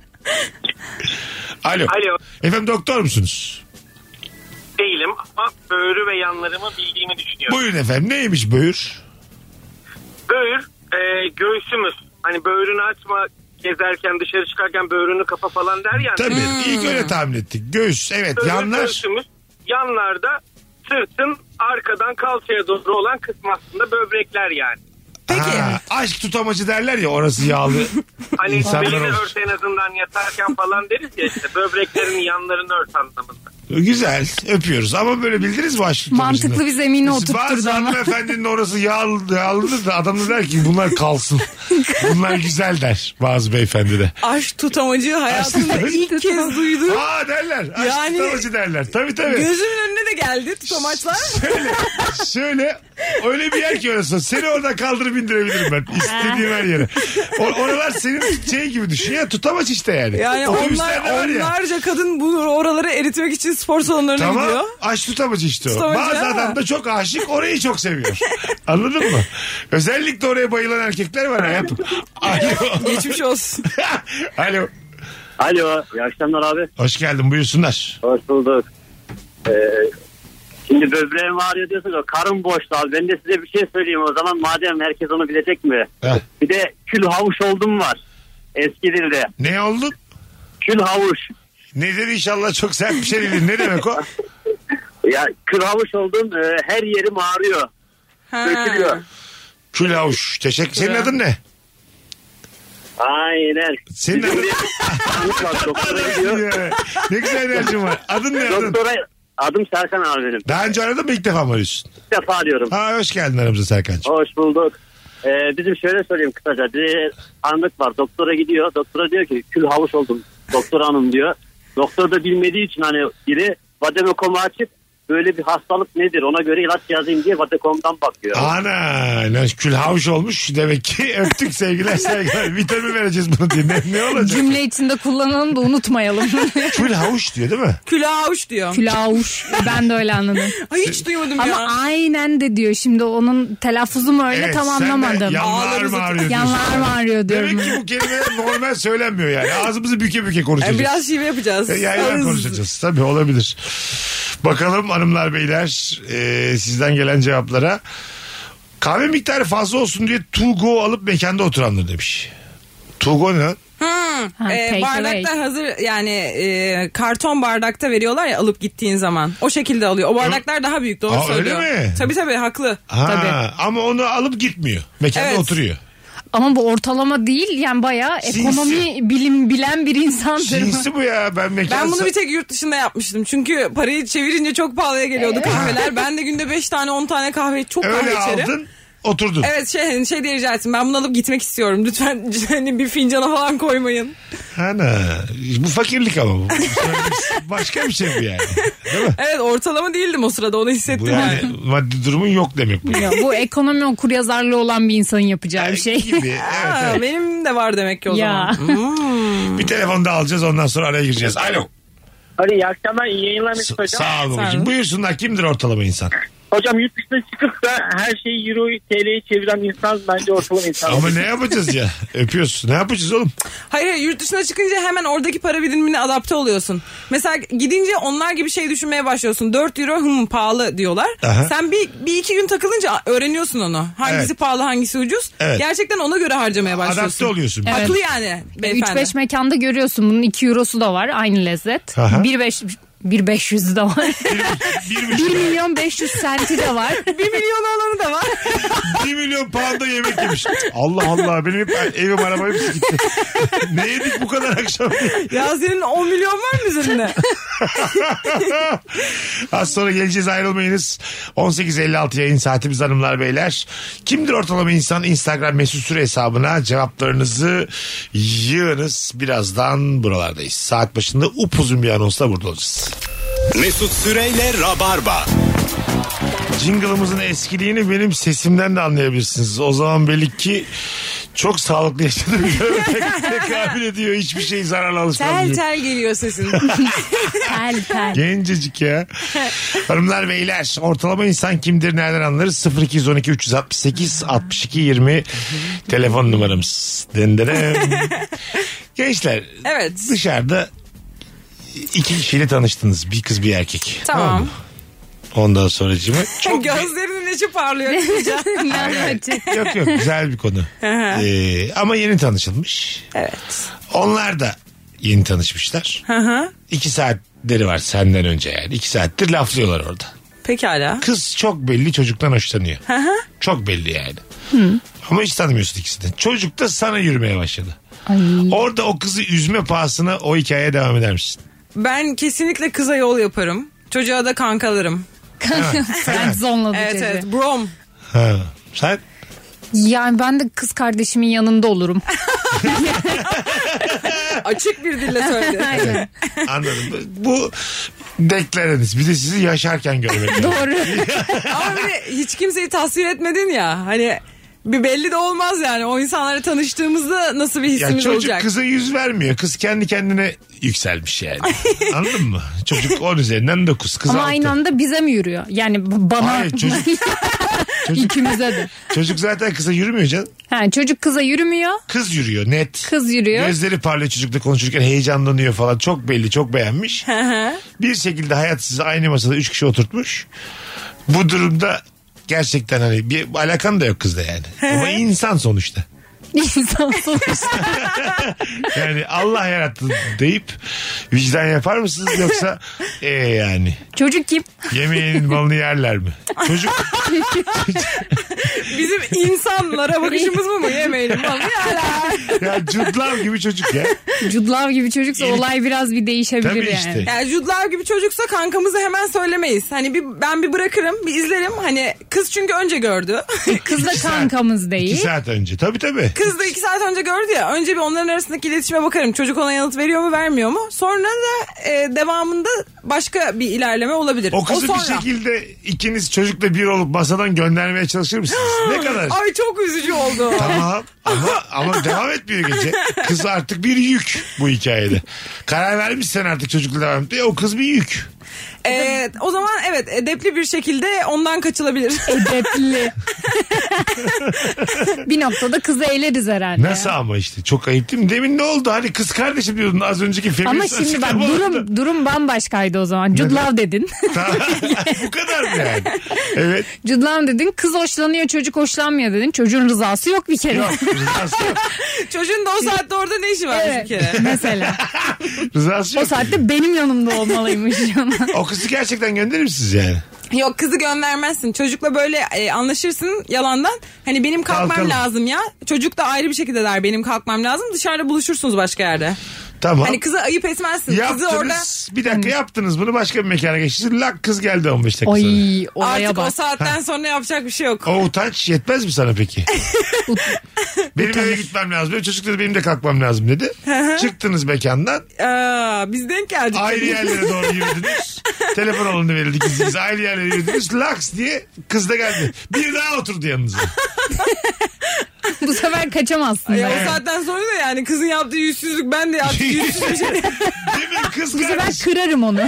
[SPEAKER 3] Alo.
[SPEAKER 7] Alo.
[SPEAKER 3] Efendim doktor musunuz?
[SPEAKER 7] Değilim ama böğrü ve yanlarımı bildiğimi düşünüyorum.
[SPEAKER 3] Buyurun efendim. Neymiş buyur?
[SPEAKER 7] Böğür e, göğsümüz. Hani böğrünü açma gezerken dışarı çıkarken böğrünü kapa falan der ya.
[SPEAKER 3] Tabii ilk öyle tahmin ettik. Göğüs Hmm. evet
[SPEAKER 7] Böğrü
[SPEAKER 3] yanlar.
[SPEAKER 7] Göğsümüz yanlarda sırtın arkadan kalçaya doğru olan kısmı aslında böbrekler yani.
[SPEAKER 4] Peki.
[SPEAKER 3] Ha, aşk tutamacı derler ya orası yağlı.
[SPEAKER 7] Hani
[SPEAKER 3] İnsanlar
[SPEAKER 7] belini
[SPEAKER 3] olur.
[SPEAKER 7] ört en azından yatarken falan deriz ya işte böbreklerin yanlarını ört anlamında.
[SPEAKER 3] Güzel öpüyoruz ama böyle bildiniz mi aşk tutamacını?
[SPEAKER 5] Mantıklı bir zemine oturtturdu
[SPEAKER 3] Bazı
[SPEAKER 5] ama.
[SPEAKER 3] hanımefendinin orası yağlı, yağlıdır da adam da der ki bunlar kalsın. bunlar güzel der bazı beyefendi de.
[SPEAKER 4] Aşk tutamacı hayatımda
[SPEAKER 3] tutamacı.
[SPEAKER 5] *laughs*
[SPEAKER 4] ilk kez duydum.
[SPEAKER 3] Aa derler. Aşk
[SPEAKER 4] Yani-
[SPEAKER 3] tutamacı derler. Tabii tabii.
[SPEAKER 4] Gözümün önüne de geldi tutamaçlar.
[SPEAKER 3] Şöyle, şöyle öyle bir yer ki orası. Seni orada kaldırıp indirebilirim ben. İstediğim her yere. O, oralar senin şey gibi düşün ya. Tutamaç işte yani.
[SPEAKER 4] Yani onlar,
[SPEAKER 3] Otobüslerde var ya.
[SPEAKER 4] onlarca kadın bu oraları eritmek için spor salonlarına
[SPEAKER 3] Tamam.
[SPEAKER 4] gidiyor.
[SPEAKER 3] Aşk tutamacı işte o.
[SPEAKER 4] Tutamacı
[SPEAKER 3] Bazı
[SPEAKER 4] ama.
[SPEAKER 3] adam da çok aşık orayı çok seviyor. Anladın mı? Özellikle oraya bayılan erkekler var hayatım. Alo. *laughs*
[SPEAKER 4] Geçmiş olsun.
[SPEAKER 3] Alo.
[SPEAKER 8] Alo, iyi akşamlar abi.
[SPEAKER 3] Hoş geldin buyursunlar.
[SPEAKER 8] Hoş bulduk. Ee, şimdi böbreğim ağrıyor diyorsunuz. O karın boştu abi. Ben de size bir şey söyleyeyim o zaman. Madem herkes onu bilecek mi?
[SPEAKER 3] Heh.
[SPEAKER 8] Bir de kül havuç oldum var. Eski dilde.
[SPEAKER 3] Ne oldun?
[SPEAKER 8] Kül havuç.
[SPEAKER 3] Nedir inşallah çok sert bir şey değil. Ne demek o?
[SPEAKER 8] Ya kül havuç oldum. e, her yerim ağrıyor.
[SPEAKER 4] Ha.
[SPEAKER 8] Dökülüyor.
[SPEAKER 3] Külavuş. Teşekkür. Senin
[SPEAKER 4] Ya.
[SPEAKER 3] adın ne?
[SPEAKER 8] Aynen.
[SPEAKER 3] Senin
[SPEAKER 8] Bizim
[SPEAKER 3] adın-
[SPEAKER 8] bir tanıdık var, doktora *laughs* gidiyor.
[SPEAKER 3] ne güzel enerjin var. Adın ne adın?
[SPEAKER 8] Doktora adım Serkan abi benim.
[SPEAKER 3] Daha önce aradın mı ilk defa mı arıyorsun?
[SPEAKER 8] İlk defa diyorum.
[SPEAKER 3] Ha hoş geldin aramıza Serkan'cığım.
[SPEAKER 8] Hoş bulduk. Ee, bizim şöyle söyleyeyim kısaca. Bir anlık var. Doktora gidiyor. Doktora diyor ki kül havuç oldum. Doktor hanım diyor. Doktor da bilmediği için hani biri vademekomu açıp böyle bir hastalık nedir ona göre ilaç yazayım diye vadekomdan bakıyor.
[SPEAKER 3] Ana lan kül havuç olmuş demek ki *laughs* öptük sevgiler sevgiler vitamin vereceğiz bunu diye ne, ne olacak?
[SPEAKER 5] Cümle içinde kullanalım da unutmayalım.
[SPEAKER 3] Kül havuç diyor değil mi?
[SPEAKER 4] Külavuş diyor.
[SPEAKER 5] Külauş. Ben de öyle anladım.
[SPEAKER 4] Ay hiç duymadım
[SPEAKER 5] Ama
[SPEAKER 4] ya.
[SPEAKER 5] aynen de diyor. Şimdi onun telaffuzu mu öyle
[SPEAKER 3] Evet, sen
[SPEAKER 5] tamamlamadım.
[SPEAKER 3] de yanlar
[SPEAKER 4] Ağlarımızı-
[SPEAKER 3] mı ağrıyor diyorsun?
[SPEAKER 5] Yanlar mı ağrıyor diyorum.
[SPEAKER 3] Demek ki bu kelimeler normal söylenmiyor yani. Ağzımızı büke büke konuşacağız.
[SPEAKER 4] Yani biraz şive yapacağız.
[SPEAKER 3] E, Yaylar
[SPEAKER 4] Ağız-
[SPEAKER 3] konuşacağız. Tabii olabilir. Bakalım hanımlar beyler e, sizden gelen cevaplara. Kahve miktarı fazla olsun diye to go alıp mekanda oturanlar demiş. To go ne? lan?
[SPEAKER 5] Ha,
[SPEAKER 4] Ee,
[SPEAKER 5] take away.
[SPEAKER 4] bardakta hazır yani e, karton bardakta veriyorlar ya alıp gittiğin zaman. O şekilde alıyor. O bardaklar daha büyük doğru
[SPEAKER 3] Aa, öyle
[SPEAKER 4] söylüyor.
[SPEAKER 3] mi?
[SPEAKER 4] Tabii tabii haklı.
[SPEAKER 3] Ha,
[SPEAKER 5] Tabii.
[SPEAKER 3] Ama onu alıp gitmiyor. Mekanda
[SPEAKER 4] Evet.
[SPEAKER 3] oturuyor.
[SPEAKER 5] Ama bu ortalama değil yani bayağı
[SPEAKER 3] Sinsi.
[SPEAKER 5] ekonomi bilim bilen bir insandır. bu.
[SPEAKER 3] Cinsi bu ya. Ben mekanda...
[SPEAKER 4] Ben bunu bir tek yurt dışında yapmıştım. Çünkü parayı çevirince çok pahalıya geliyordu kahveler. Ben de günde 5 tane 10 tane kahve çok
[SPEAKER 3] Öyle
[SPEAKER 4] kahve içerim.
[SPEAKER 3] aldın oturdun.
[SPEAKER 4] Evet şey, şey diye rica ettim. Ben bunu alıp gitmek istiyorum. Lütfen *laughs* hani bir fincana falan koymayın.
[SPEAKER 3] Ana. Bu fakirlik ama bu. Başka bir şey bu yani. Değil mi?
[SPEAKER 4] Evet ortalama değildim o sırada onu hissettim
[SPEAKER 3] Bu
[SPEAKER 4] yani.
[SPEAKER 3] yani maddi durumun yok demek bu.
[SPEAKER 5] *laughs* Ya, bu ekonomi okuryazarlığı olan bir insanın yapacağı bir şey.
[SPEAKER 3] Gibi. Evet,
[SPEAKER 4] *laughs* Ha,
[SPEAKER 3] evet.
[SPEAKER 4] Benim de var demek ki o
[SPEAKER 5] *laughs* Ya.
[SPEAKER 4] zaman.
[SPEAKER 3] Bir telefon daha alacağız ondan sonra araya gireceğiz. Alo.
[SPEAKER 7] Hadi iyi akşamlar iyi yayınlar
[SPEAKER 3] S-
[SPEAKER 7] Mesut hocam.
[SPEAKER 3] Sağ olun babacığım.
[SPEAKER 4] olun.
[SPEAKER 3] Buyursunlar kimdir ortalama insan?
[SPEAKER 7] Hocam yurt dışına çıkıp da her şeyi Euro'yu TL'ye çeviren insan bence ortalama insan.
[SPEAKER 3] Ama ne yapacağız ya? Öpüyorsun. Ne yapacağız oğlum?
[SPEAKER 4] Hayır hayır, yurt dışına çıkınca hemen oradaki para birimine adapte oluyorsun. Mesela gidince onlar gibi şey düşünmeye başlıyorsun. 4 euro hım pahalı diyorlar.
[SPEAKER 3] Aha.
[SPEAKER 4] Sen bir, bir iki gün takılınca öğreniyorsun onu. Hangisi
[SPEAKER 3] Evet.
[SPEAKER 4] pahalı hangisi ucuz.
[SPEAKER 3] Evet.
[SPEAKER 4] Gerçekten ona göre harcamaya başlıyorsun.
[SPEAKER 3] Adapte oluyorsun.
[SPEAKER 5] Evet.
[SPEAKER 4] Haklı yani beyefendi.
[SPEAKER 5] 3-5 mekanda görüyorsun bunun 2 eurosu da var aynı lezzet.
[SPEAKER 3] Aha.
[SPEAKER 5] 1-5 1-500'ü de var.
[SPEAKER 3] *laughs* Bir,
[SPEAKER 5] 1
[SPEAKER 3] buçuk-
[SPEAKER 5] milyon 500 senti de var.
[SPEAKER 4] 1 milyon alanı da *laughs* var.
[SPEAKER 3] bir milyon pound'a yemek yemiş. Allah Allah benim hep evim arabam hepsi gitti. *laughs* ne yedik bu kadar akşam?
[SPEAKER 4] ya senin 10 milyon var mı üzerinde?
[SPEAKER 3] Az sonra geleceğiz ayrılmayınız. 18.56 yayın saatimiz hanımlar beyler. Kimdir ortalama insan? Instagram mesut süre hesabına cevaplarınızı yığınız. Birazdan buralardayız. Saat başında upuzun bir anonsla burada olacağız.
[SPEAKER 2] Mesut Süreyle Rabarba.
[SPEAKER 3] Jingle'ımızın eskiliğini benim sesimden de anlayabilirsiniz. O zaman belli ki çok sağlıklı yaşadığım tekabül ediyor. Hiçbir şey zararlı alışmam
[SPEAKER 4] *laughs* tel
[SPEAKER 3] gibi.
[SPEAKER 4] tel geliyor *laughs* sesin.
[SPEAKER 5] Tel tel.
[SPEAKER 3] Gencecik ya. Hanımlar beyler ortalama insan kimdir nereden anlarız? 0212 368 62 20 telefon numaramız. Denderem. Gençler
[SPEAKER 4] Evet.
[SPEAKER 3] dışarıda iki kişiyle tanıştınız. Bir kız bir erkek.
[SPEAKER 4] Tamam. *laughs*
[SPEAKER 3] mı? Ondan sonra
[SPEAKER 4] Gözlerinin içi parlıyor.
[SPEAKER 5] Ne acı.
[SPEAKER 3] yok yok güzel bir konu. Ee, ama yeni tanışılmış.
[SPEAKER 4] *laughs* evet.
[SPEAKER 3] Onlar da yeni tanışmışlar. İki saatleri var senden önce yani. İki saattir laflıyorlar orada.
[SPEAKER 4] Pekala.
[SPEAKER 3] Kız çok belli çocuktan hoşlanıyor. çok belli yani. Ama hiç tanımıyorsun ikisini. Çocuk da sana yürümeye başladı. Orada o kızı üzme pahasına o hikayeye devam eder misin?
[SPEAKER 4] Ben kesinlikle kıza yol yaparım. Çocuğa da kankalarım.
[SPEAKER 5] Frank zonladı
[SPEAKER 4] Evet
[SPEAKER 5] çocuğu.
[SPEAKER 4] evet. Brom.
[SPEAKER 3] Ha. Sen
[SPEAKER 5] Yani ben de kız kardeşimin yanında
[SPEAKER 3] *laughs*
[SPEAKER 5] olurum.
[SPEAKER 4] Açık bir dille söyledi.
[SPEAKER 5] *laughs* Aynen.
[SPEAKER 3] anladım. Bu dekleriniz. Bir de sizi yaşarken görmek.
[SPEAKER 5] Doğru.
[SPEAKER 4] Ama bir de hiç kimseyi tasvir etmedin ya. Hani bir belli de olmaz yani. O insanlara tanıştığımızda nasıl bir
[SPEAKER 3] Ya
[SPEAKER 4] hissimiz
[SPEAKER 3] çocuk
[SPEAKER 4] olacak.
[SPEAKER 3] kıza yüz vermiyor. Kız kendi kendine yükselmiş
[SPEAKER 5] *laughs*
[SPEAKER 3] yani. Anladın mı? Çocuk 10 üzerinden 9. Kız
[SPEAKER 5] Ama
[SPEAKER 3] altı.
[SPEAKER 5] aynı anda bize mi yürüyor? Yani b- bana.
[SPEAKER 3] Hayır,
[SPEAKER 5] *laughs*
[SPEAKER 3] çocuk-
[SPEAKER 5] İkimize de.
[SPEAKER 3] Çocuk zaten kıza yürümüyor canım.
[SPEAKER 5] Ha, çocuk kıza yürümüyor.
[SPEAKER 3] Kız yürüyor net.
[SPEAKER 5] Kız yürüyor.
[SPEAKER 3] Gözleri parlıyor çocukla konuşurken heyecanlanıyor falan. Çok belli çok beğenmiş. bir şekilde hayat sizi aynı masada 3 kişi oturtmuş. Bu durumda gerçekten hani bir alakan da yok kızla yani. Ama insan sonuçta.
[SPEAKER 5] *laughs* İnsan sonuçta.
[SPEAKER 3] Yani Allah yarattı deyip vicdan yapar mısınız yoksa e yani
[SPEAKER 5] Çocuk kim?
[SPEAKER 3] yemeğinin malını yerler mi? Çocuk
[SPEAKER 4] Bizim insanlara bakışımız mı mı yemeyelim falan. Yani,
[SPEAKER 3] ya cudlav gibi çocuk ya.
[SPEAKER 5] Cudlav gibi çocuksa olay biraz bir değişebilir
[SPEAKER 3] Tabii
[SPEAKER 5] yani.
[SPEAKER 3] işte.
[SPEAKER 4] yani Jude Law gibi çocuksa kankamıza hemen söylemeyiz. Hani bir, ben bir bırakırım bir izlerim. Hani kız çünkü önce gördü. *laughs*
[SPEAKER 5] Kız da
[SPEAKER 3] saat-
[SPEAKER 5] kankamız
[SPEAKER 3] İki
[SPEAKER 5] değil.
[SPEAKER 3] saat önce. Tabii tabii.
[SPEAKER 4] Kız da iki saat önce gördü ya. Önce bir onların arasındaki iletişime bakarım. Çocuk ona yanıt veriyor mu vermiyor mu? Sonra da e, devamında başka bir ilerleme olabilir.
[SPEAKER 3] O kızı
[SPEAKER 4] sonra.
[SPEAKER 3] bir şekilde ikiniz çocukla bir olup masadan göndermeye çalışır mısınız? Ne kadar?
[SPEAKER 4] Ay çok üzücü oldu.
[SPEAKER 3] *laughs* Tamam ama, ama devam etmiyor gece. Kız artık bir yük bu hikayede. Karar vermişsen artık çocukla devam etmeye o kız bir yük.
[SPEAKER 4] E, o zaman evet edepli bir şekilde ondan kaçılabilir.
[SPEAKER 3] *laughs*
[SPEAKER 5] Edepli. bir noktada kızı eğleriz herhalde.
[SPEAKER 3] Nasıl ama işte çok ayıp değil mi? Demin ne oldu? Hani kız kardeşim diyordun az önceki filmin.
[SPEAKER 5] Ama şimdi
[SPEAKER 3] *laughs*
[SPEAKER 5] bak durum durum bambaşkaydı o zaman. Cudlav dedin.
[SPEAKER 3] bu kadar mı yani? Evet.
[SPEAKER 5] Cudlav dedin. Kız hoşlanıyor, çocuk hoşlanmıyor dedin. Çocuğun rızası yok bir kere. *laughs*
[SPEAKER 3] Yok. Rızası yok.
[SPEAKER 4] *laughs* Çocuğun da o saatte orada ne işi var
[SPEAKER 5] Evet.
[SPEAKER 4] bir kere?
[SPEAKER 5] *laughs* Mesela.
[SPEAKER 3] Rızası
[SPEAKER 5] O
[SPEAKER 3] yok.
[SPEAKER 5] saatte benim yanımda olmalıymış.
[SPEAKER 3] O kızı gerçekten gönderir misiniz yani?
[SPEAKER 4] *laughs* Yok kızı göndermezsin. Çocukla böyle e, anlaşırsın yalandan. Hani benim kalkmam
[SPEAKER 3] Kalkalım.
[SPEAKER 4] lazım ya. Çocuk da ayrı bir şekilde der benim kalkmam lazım. Dışarıda buluşursunuz başka yerde.
[SPEAKER 3] Tamam.
[SPEAKER 4] Hani kızı ayıp etmezsin.
[SPEAKER 3] Yaptınız.
[SPEAKER 4] Kızı orada
[SPEAKER 3] Bir dakika yaptınız. Bunu başka bir mekana geçtiniz. Lak kız geldi 15 dakika sonra.
[SPEAKER 5] Ay oraya
[SPEAKER 4] artık o
[SPEAKER 5] bak.
[SPEAKER 4] saatten sonra yapacak bir şey yok.
[SPEAKER 3] O utanç yetmez mi sana
[SPEAKER 4] *laughs*
[SPEAKER 3] peki? benim eve gitmem lazım. Benim çocuk dedi benim de kalkmam lazım dedi. Çıktınız
[SPEAKER 4] *laughs*
[SPEAKER 3] mekandan.
[SPEAKER 4] Aa, biz denk geldik.
[SPEAKER 3] Ayrı yerlere doğru yürüdünüz. Telefon alındı verildi gizliyiz. Ayrı yerlere yürüdünüz. Laks diye kız da geldi. Bir daha oturdu
[SPEAKER 4] *laughs*
[SPEAKER 3] yanınıza.
[SPEAKER 5] Bu sefer
[SPEAKER 4] *laughs*
[SPEAKER 5] kaçamazsın.
[SPEAKER 4] Ya
[SPEAKER 5] zaten.
[SPEAKER 4] o saatten sonra da yani kızın yaptığı yüzsüzlük ben
[SPEAKER 3] *laughs*
[SPEAKER 4] de yaptım. yüzsüz bir şey.
[SPEAKER 3] Demin kız
[SPEAKER 5] Bu sefer
[SPEAKER 3] kardeş.
[SPEAKER 5] kırarım onu.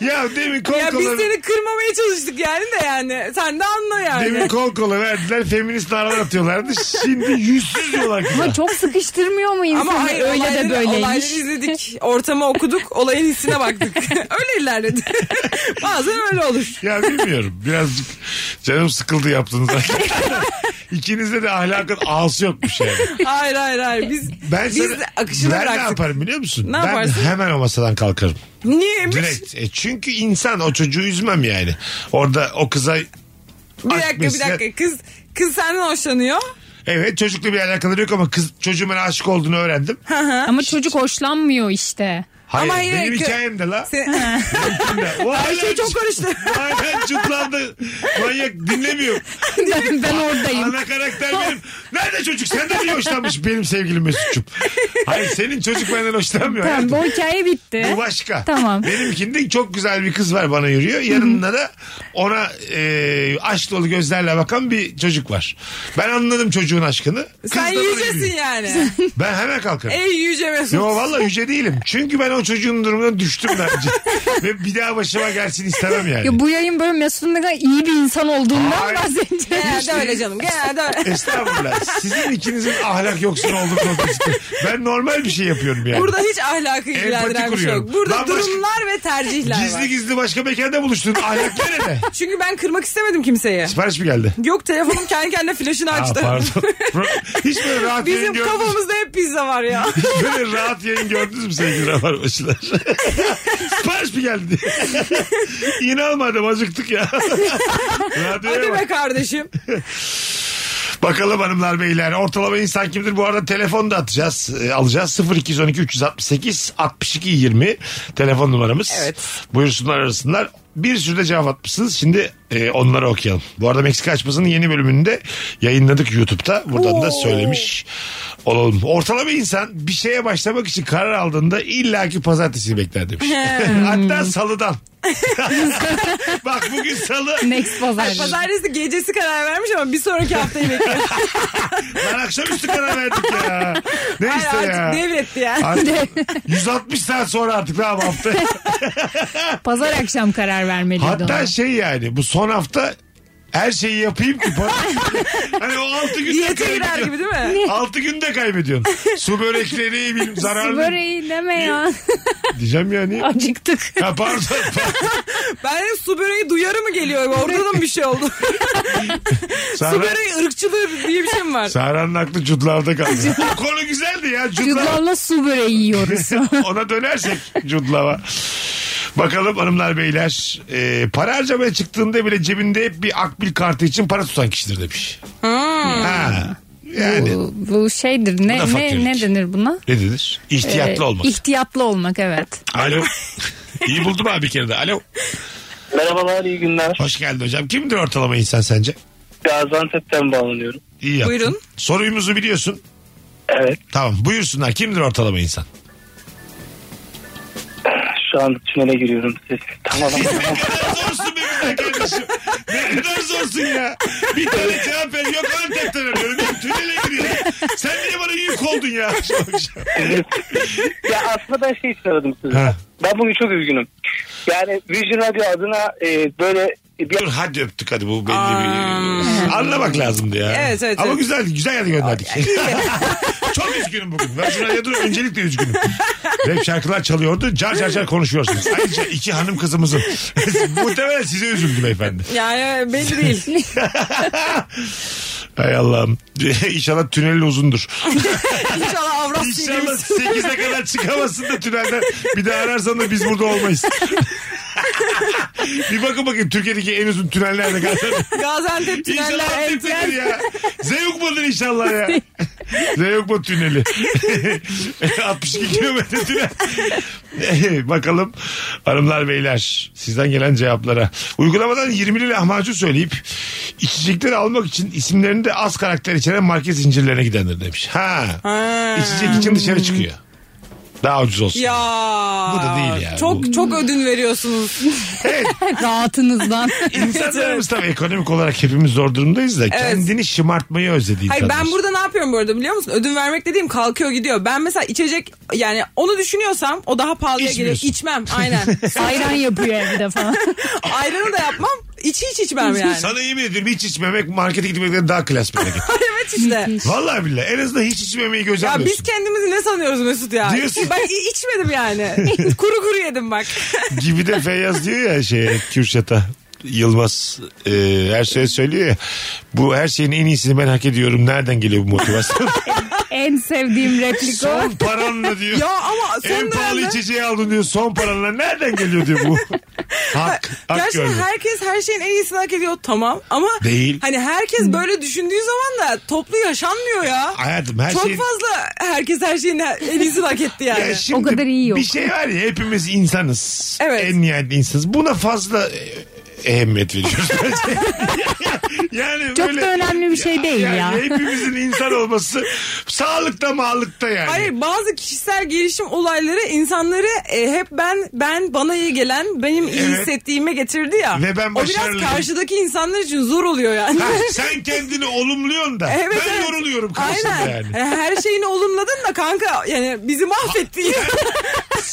[SPEAKER 3] Ya demin kol
[SPEAKER 4] ya biz
[SPEAKER 3] kola.
[SPEAKER 4] seni kırmamaya çalıştık yani de yani. Sen de anla yani.
[SPEAKER 3] Demin kol kola verdiler. Feminist naralar atıyorlardı. Şimdi yüzsüz diyorlar kıza.
[SPEAKER 5] Ama çok sıkıştırmıyor mu insanı?
[SPEAKER 4] Ama hayır,
[SPEAKER 5] öyle
[SPEAKER 4] olayları,
[SPEAKER 5] de böyleymiş.
[SPEAKER 4] Olayları izledik. Ortamı okuduk. Olayın hissine baktık. *laughs* öyle
[SPEAKER 5] *laughs*
[SPEAKER 4] ilerledi. Bazen öyle olur.
[SPEAKER 3] Ya bilmiyorum. Birazcık canım sıkıldı yaptığınız
[SPEAKER 4] *laughs*
[SPEAKER 3] hareketler. İkinizde de ahlakın ağası yokmuş yani.
[SPEAKER 4] Hayır hayır hayır. Biz,
[SPEAKER 3] Ben
[SPEAKER 4] biz
[SPEAKER 3] sana-
[SPEAKER 4] de akışını
[SPEAKER 3] ben ne
[SPEAKER 4] bıraktık.
[SPEAKER 3] yaparım biliyor musun?
[SPEAKER 4] Ne
[SPEAKER 3] ben
[SPEAKER 4] yaparsın?
[SPEAKER 3] hemen o masadan kalkarım.
[SPEAKER 4] Niyeymiş?
[SPEAKER 3] Direkt. E çünkü insan o çocuğu üzmem yani. Orada o kıza
[SPEAKER 4] bir dakika bir
[SPEAKER 3] Akmesine-
[SPEAKER 4] dakika. Kız kız senden hoşlanıyor.
[SPEAKER 3] evet çocukla bir alakaları yok ama kız çocuğumun aşık olduğunu öğrendim.
[SPEAKER 5] Ama çocuk hoşlanmıyor işte.
[SPEAKER 3] Hayır,
[SPEAKER 4] Ama hayır,
[SPEAKER 3] benim
[SPEAKER 4] kö-
[SPEAKER 3] hikayem de la.
[SPEAKER 4] Sen-
[SPEAKER 3] Her
[SPEAKER 4] şey çok karıştı.
[SPEAKER 3] Aynen çutlandı. Manyak dinlemiyor.
[SPEAKER 5] ben, ben oradayım.
[SPEAKER 3] Ana karakter benim. Nerede çocuk? Senden niye hoşlanmış benim sevgilim Mesut'cum? Hayır senin çocuk benden hoşlanmıyor.
[SPEAKER 5] Tamam
[SPEAKER 3] hayatım.
[SPEAKER 5] bu hikaye bitti.
[SPEAKER 4] Ee?
[SPEAKER 3] Bu başka.
[SPEAKER 5] Tamam.
[SPEAKER 3] Benimkinde çok güzel bir kız var bana yürüyor. Yanında da ona e, aşk dolu gözlerle bakan bir çocuk var. Ben anladım çocuğun aşkını. Kız
[SPEAKER 4] Sen
[SPEAKER 3] da bana
[SPEAKER 4] yücesin
[SPEAKER 3] yürüyor.
[SPEAKER 4] yani.
[SPEAKER 3] Ben hemen kalkarım.
[SPEAKER 4] Ey yüce Mesut.
[SPEAKER 3] Yo valla yüce değilim. Çünkü ben o çocuğun durumuna düştüm daha
[SPEAKER 4] *laughs*
[SPEAKER 3] önce. Ve bir daha başıma gelsin istemem yani.
[SPEAKER 5] Ya bu yayın böyle Mesut'un ne kadar iyi bir insan olduğundan
[SPEAKER 3] Hayır.
[SPEAKER 5] bahsedeceğiz.
[SPEAKER 3] *laughs*
[SPEAKER 4] Genelde öyle canım. Genelde öyle.
[SPEAKER 3] Estağfurullah. Sizin ikinizin ahlak yoksun olduğu konusunda. Ben normal bir şey yapıyorum yani.
[SPEAKER 4] Burada hiç ahlakı
[SPEAKER 3] Empati
[SPEAKER 4] ilgilendiren bir şey
[SPEAKER 3] kuruyorum.
[SPEAKER 4] yok. Burada
[SPEAKER 3] Lan başka-
[SPEAKER 4] durumlar ve tercihler var.
[SPEAKER 3] Gizli gizli başka mekanda buluştun. Ahlak nerede?
[SPEAKER 4] Çünkü ben kırmak istemedim kimseyi.
[SPEAKER 3] Sipariş mi geldi?
[SPEAKER 4] Yok telefonum kendi kendine flaşını
[SPEAKER 3] Aa,
[SPEAKER 4] açtı.
[SPEAKER 3] pardon.
[SPEAKER 4] *laughs*
[SPEAKER 3] Hiç böyle rahat yayın
[SPEAKER 4] Bizim
[SPEAKER 3] gördünüz mü?
[SPEAKER 4] kafamızda hep pizza
[SPEAKER 3] *laughs*
[SPEAKER 4] var ya.
[SPEAKER 3] Hiç böyle rahat yayın gördünüz mü sevgili Rabarbaşılar?
[SPEAKER 4] *laughs*
[SPEAKER 3] Sipariş mi geldi? İnanmadım acıktık ya.
[SPEAKER 4] Hadi
[SPEAKER 3] Radyoya
[SPEAKER 4] be
[SPEAKER 3] bak.
[SPEAKER 4] kardeşim.
[SPEAKER 3] Bakalım hanımlar beyler ortalama insan kimdir? Bu arada telefon da atacağız. e, alacağız 0212 368 62 20 telefon numaramız.
[SPEAKER 4] Evet.
[SPEAKER 3] Buyursunlar arasınlar. Bir sürü de cevap atmışsınız. Şimdi e, onları okuyalım. Bu arada Meksika açmasının yeni bölümünde yayınladık YouTube'da. Buradan da söylemiş olalım. Ortalama insan bir şeye başlamak için karar aldığında illaki pazartesi bekler demiş.
[SPEAKER 4] Hmm.
[SPEAKER 3] *laughs* Hatta salıdan. Bak bugün salı.
[SPEAKER 5] Next pazar.
[SPEAKER 4] Pazartesi gecesi karar vermiş ama bir sonraki
[SPEAKER 3] *laughs*
[SPEAKER 4] haftayı bekliyor.
[SPEAKER 3] Lan akşamüstü karar verdik ya. Neyse
[SPEAKER 4] Hayır
[SPEAKER 3] ya.
[SPEAKER 4] artık devretti *laughs* ya.
[SPEAKER 3] Artık 160 saat sonra artık ne yapalım hafta.
[SPEAKER 5] Pazar akşam karar vermeliydi
[SPEAKER 3] Hatta
[SPEAKER 5] ona.
[SPEAKER 3] şey yani bu son hafta her şeyi yapayım ki para. hani o altı günde
[SPEAKER 4] Diyete girer
[SPEAKER 3] kaybediyorsun.
[SPEAKER 4] gibi değil mi?
[SPEAKER 3] Altı günde kaybediyorsun. Su börekleri yiyeyim zararlı.
[SPEAKER 5] Böreği deme ya.
[SPEAKER 3] Diyeceğim yani.
[SPEAKER 5] Acıktık.
[SPEAKER 3] Ha pardon. pardon.
[SPEAKER 4] Ben de su böreği duyarı mı geliyor? Orada da mı bir şey oldu? su *laughs*
[SPEAKER 3] Sahra,
[SPEAKER 4] böreği ırkçılığı diye bir şey mi var?
[SPEAKER 3] Sahra'nın aklı cudlarda kaldı. o konu güzeldi ya. Cudlar.
[SPEAKER 5] Cudlarla su böreği yiyoruz.
[SPEAKER 3] *laughs* Ona dönersek cudlava. Bakalım hanımlar beyler. Ee, para harcamaya çıktığında bile cebinde hep bir akbil kartı için para tutan kişidir demiş. Ha. Yani
[SPEAKER 5] bu, bu şeydir.
[SPEAKER 3] Bu da
[SPEAKER 5] Ne,
[SPEAKER 3] fakirlik.
[SPEAKER 5] ne, ne denir buna?
[SPEAKER 3] ne denir? İhtiyatlı
[SPEAKER 5] Ee,
[SPEAKER 3] olmak.
[SPEAKER 5] İhtiyatlı olmak evet.
[SPEAKER 3] Alo. İyi buldum abi bir kere de. Alo.
[SPEAKER 7] Merhabalar iyi günler.
[SPEAKER 3] Hoş geldin hocam. Kimdir ortalama insan sence?
[SPEAKER 7] *laughs* Gaziantep'ten bağlanıyorum.
[SPEAKER 3] İyi yaptın.
[SPEAKER 4] Buyurun.
[SPEAKER 3] Soruyumuzu biliyorsun.
[SPEAKER 7] Evet
[SPEAKER 3] Tamam buyursunlar. Kimdir ortalama insan?
[SPEAKER 7] şu an tünele giriyorum. Siz
[SPEAKER 3] *laughs*
[SPEAKER 7] tamam tamam.
[SPEAKER 3] Ne kadar zorsun be güzel kardeşim. Ne kadar zorsun ya. Bir tane cevap ver. Yok Antep'ten arıyorum. Yok tünele giriyor. Sen niye bana yük oldun ya?
[SPEAKER 7] ya aslında ben şey için aradım sizi.
[SPEAKER 3] Ha.
[SPEAKER 7] Ben bugün çok üzgünüm. Yani Virgin Radio adına e, böyle bir
[SPEAKER 3] Dur hadi öptük hadi bu belli bir... Anlamak lazımdı ya.
[SPEAKER 4] Evet, evet,
[SPEAKER 3] Ama
[SPEAKER 4] evet.
[SPEAKER 3] güzel güzel yerde gönderdik. *laughs* Çok üzgünüm bugün. Ben şuna yadır öncelikle üzgünüm. Rap şarkılar çalıyordu. Car car car konuşuyorsunuz. Ayrıca iki hanım kızımızın. *laughs* Muhtemelen size üzüldü beyefendi.
[SPEAKER 4] Yani belli değil.
[SPEAKER 3] Hay Allah'ım. *laughs* İnşallah tünel uzundur. *laughs*
[SPEAKER 4] İnşallah
[SPEAKER 3] İnşallah
[SPEAKER 4] Avrasya
[SPEAKER 3] 8'e kadar çıkamazsın da tünelden. Bir daha ararsan da biz burada olmayız. bir bakın bakın Türkiye'deki en uzun tüneller ne kadar. *laughs*
[SPEAKER 4] Gaziantep
[SPEAKER 3] İnşallah
[SPEAKER 4] tüneller
[SPEAKER 3] Antep'tedir
[SPEAKER 4] entel.
[SPEAKER 3] ya. Zeynukman'dır inşallah *laughs* ya. Zeynukman tüneli. *laughs* 62 kilometre tünel. Eh, Bakalım hanımlar beyler sizden gelen cevaplara. Uygulamadan 20'li lahmacun söyleyip içecekleri almak için isimlerini de az karakter içeren market zincirlerine gidendir demiş. Ha. İçecek için dışarı çıkıyor. Daha ucuz olsun.
[SPEAKER 4] Ya.
[SPEAKER 3] Bu da değil ya,
[SPEAKER 4] Çok
[SPEAKER 3] bu.
[SPEAKER 4] çok ödün veriyorsunuz.
[SPEAKER 3] *laughs*
[SPEAKER 5] Rahatınızdan.
[SPEAKER 3] İnsanlarımız tabii ekonomik olarak hepimiz zor durumdayız da kendini şımartmayı özledi
[SPEAKER 4] Hayır
[SPEAKER 3] insanlar.
[SPEAKER 4] ben burada ne yapıyorum bu arada biliyor musun? Ödün vermek dediğim kalkıyor gidiyor. Ben mesela içecek yani onu düşünüyorsam o daha pahalıya geliyor.
[SPEAKER 3] İçmiyorsun.
[SPEAKER 4] İçmem aynen.
[SPEAKER 3] *laughs*
[SPEAKER 5] Ayran yapıyor evde falan.
[SPEAKER 4] *laughs* Ayranı da yapmam. İçi hiç içmem yani.
[SPEAKER 3] *laughs* Sana yemin ediyorum hiç içmemek markete gitmekten daha klas bir
[SPEAKER 4] *laughs*
[SPEAKER 3] hareket.
[SPEAKER 4] evet işte.
[SPEAKER 3] Vallahi billahi en azından hiç içmemeyi göz
[SPEAKER 4] Ya
[SPEAKER 3] almıyorsun.
[SPEAKER 4] biz kendimizi ne sanıyoruz Mesut ya?
[SPEAKER 3] Diyorsun.
[SPEAKER 4] Ben i- içmedim yani.
[SPEAKER 3] *laughs*
[SPEAKER 4] kuru kuru yedim bak. *laughs*
[SPEAKER 3] Gibi de Feyyaz diyor ya şey Kürşat'a. Yılmaz e, her şeyi söylüyor ya. Bu her şeyin en iyisini ben hak ediyorum. Nereden geliyor bu
[SPEAKER 4] *laughs*
[SPEAKER 3] motivasyon?
[SPEAKER 5] en sevdiğim replik o.
[SPEAKER 3] son paranla diyor.
[SPEAKER 4] Ya ama son
[SPEAKER 3] en pahalı
[SPEAKER 4] dönemde-
[SPEAKER 3] içeceği aldın diyor. Son paranla nereden geliyor diyor
[SPEAKER 4] *laughs*
[SPEAKER 3] bu. hak. Hak
[SPEAKER 4] Gerçekten
[SPEAKER 3] görme.
[SPEAKER 4] herkes her şeyin en iyisini hak ediyor tamam ama
[SPEAKER 3] Değil.
[SPEAKER 4] hani herkes böyle düşündüğü zaman da toplu yaşanmıyor ya.
[SPEAKER 3] Hayatım her
[SPEAKER 4] Çok
[SPEAKER 3] şeyin-
[SPEAKER 4] fazla herkes her şeyin en iyisini hak etti yani.
[SPEAKER 3] Ya şimdi
[SPEAKER 5] kadar iyi yok.
[SPEAKER 3] Bir şey var ya hepimiz insanız.
[SPEAKER 4] Evet.
[SPEAKER 3] En nihayet insanız. Buna fazla e, ehemmiyet veriyoruz *laughs* bence. yani
[SPEAKER 5] Çok
[SPEAKER 3] böyle-
[SPEAKER 5] da önemli bir şey değil
[SPEAKER 3] yani
[SPEAKER 5] ya.
[SPEAKER 3] Hepimizin insan olması sağlıkta mağlıkta yani.
[SPEAKER 4] Hayır bazı kişisel gelişim olayları insanları e, hep ben ben bana iyi gelen benim iyi
[SPEAKER 3] Evet.
[SPEAKER 4] hissettiğime getirdi ya.
[SPEAKER 3] Ve ben
[SPEAKER 4] o biraz
[SPEAKER 3] başarılıyım.
[SPEAKER 4] karşıdaki insanlar için zor oluyor yani.
[SPEAKER 3] Ha, sen kendini olumluyorsun da
[SPEAKER 4] *laughs* Evet,
[SPEAKER 3] ben
[SPEAKER 4] evet.
[SPEAKER 3] yoruluyorum karşında
[SPEAKER 4] Aynen.
[SPEAKER 3] yani.
[SPEAKER 4] E, Her şeyini olumladın da kanka yani bizi mahvetti.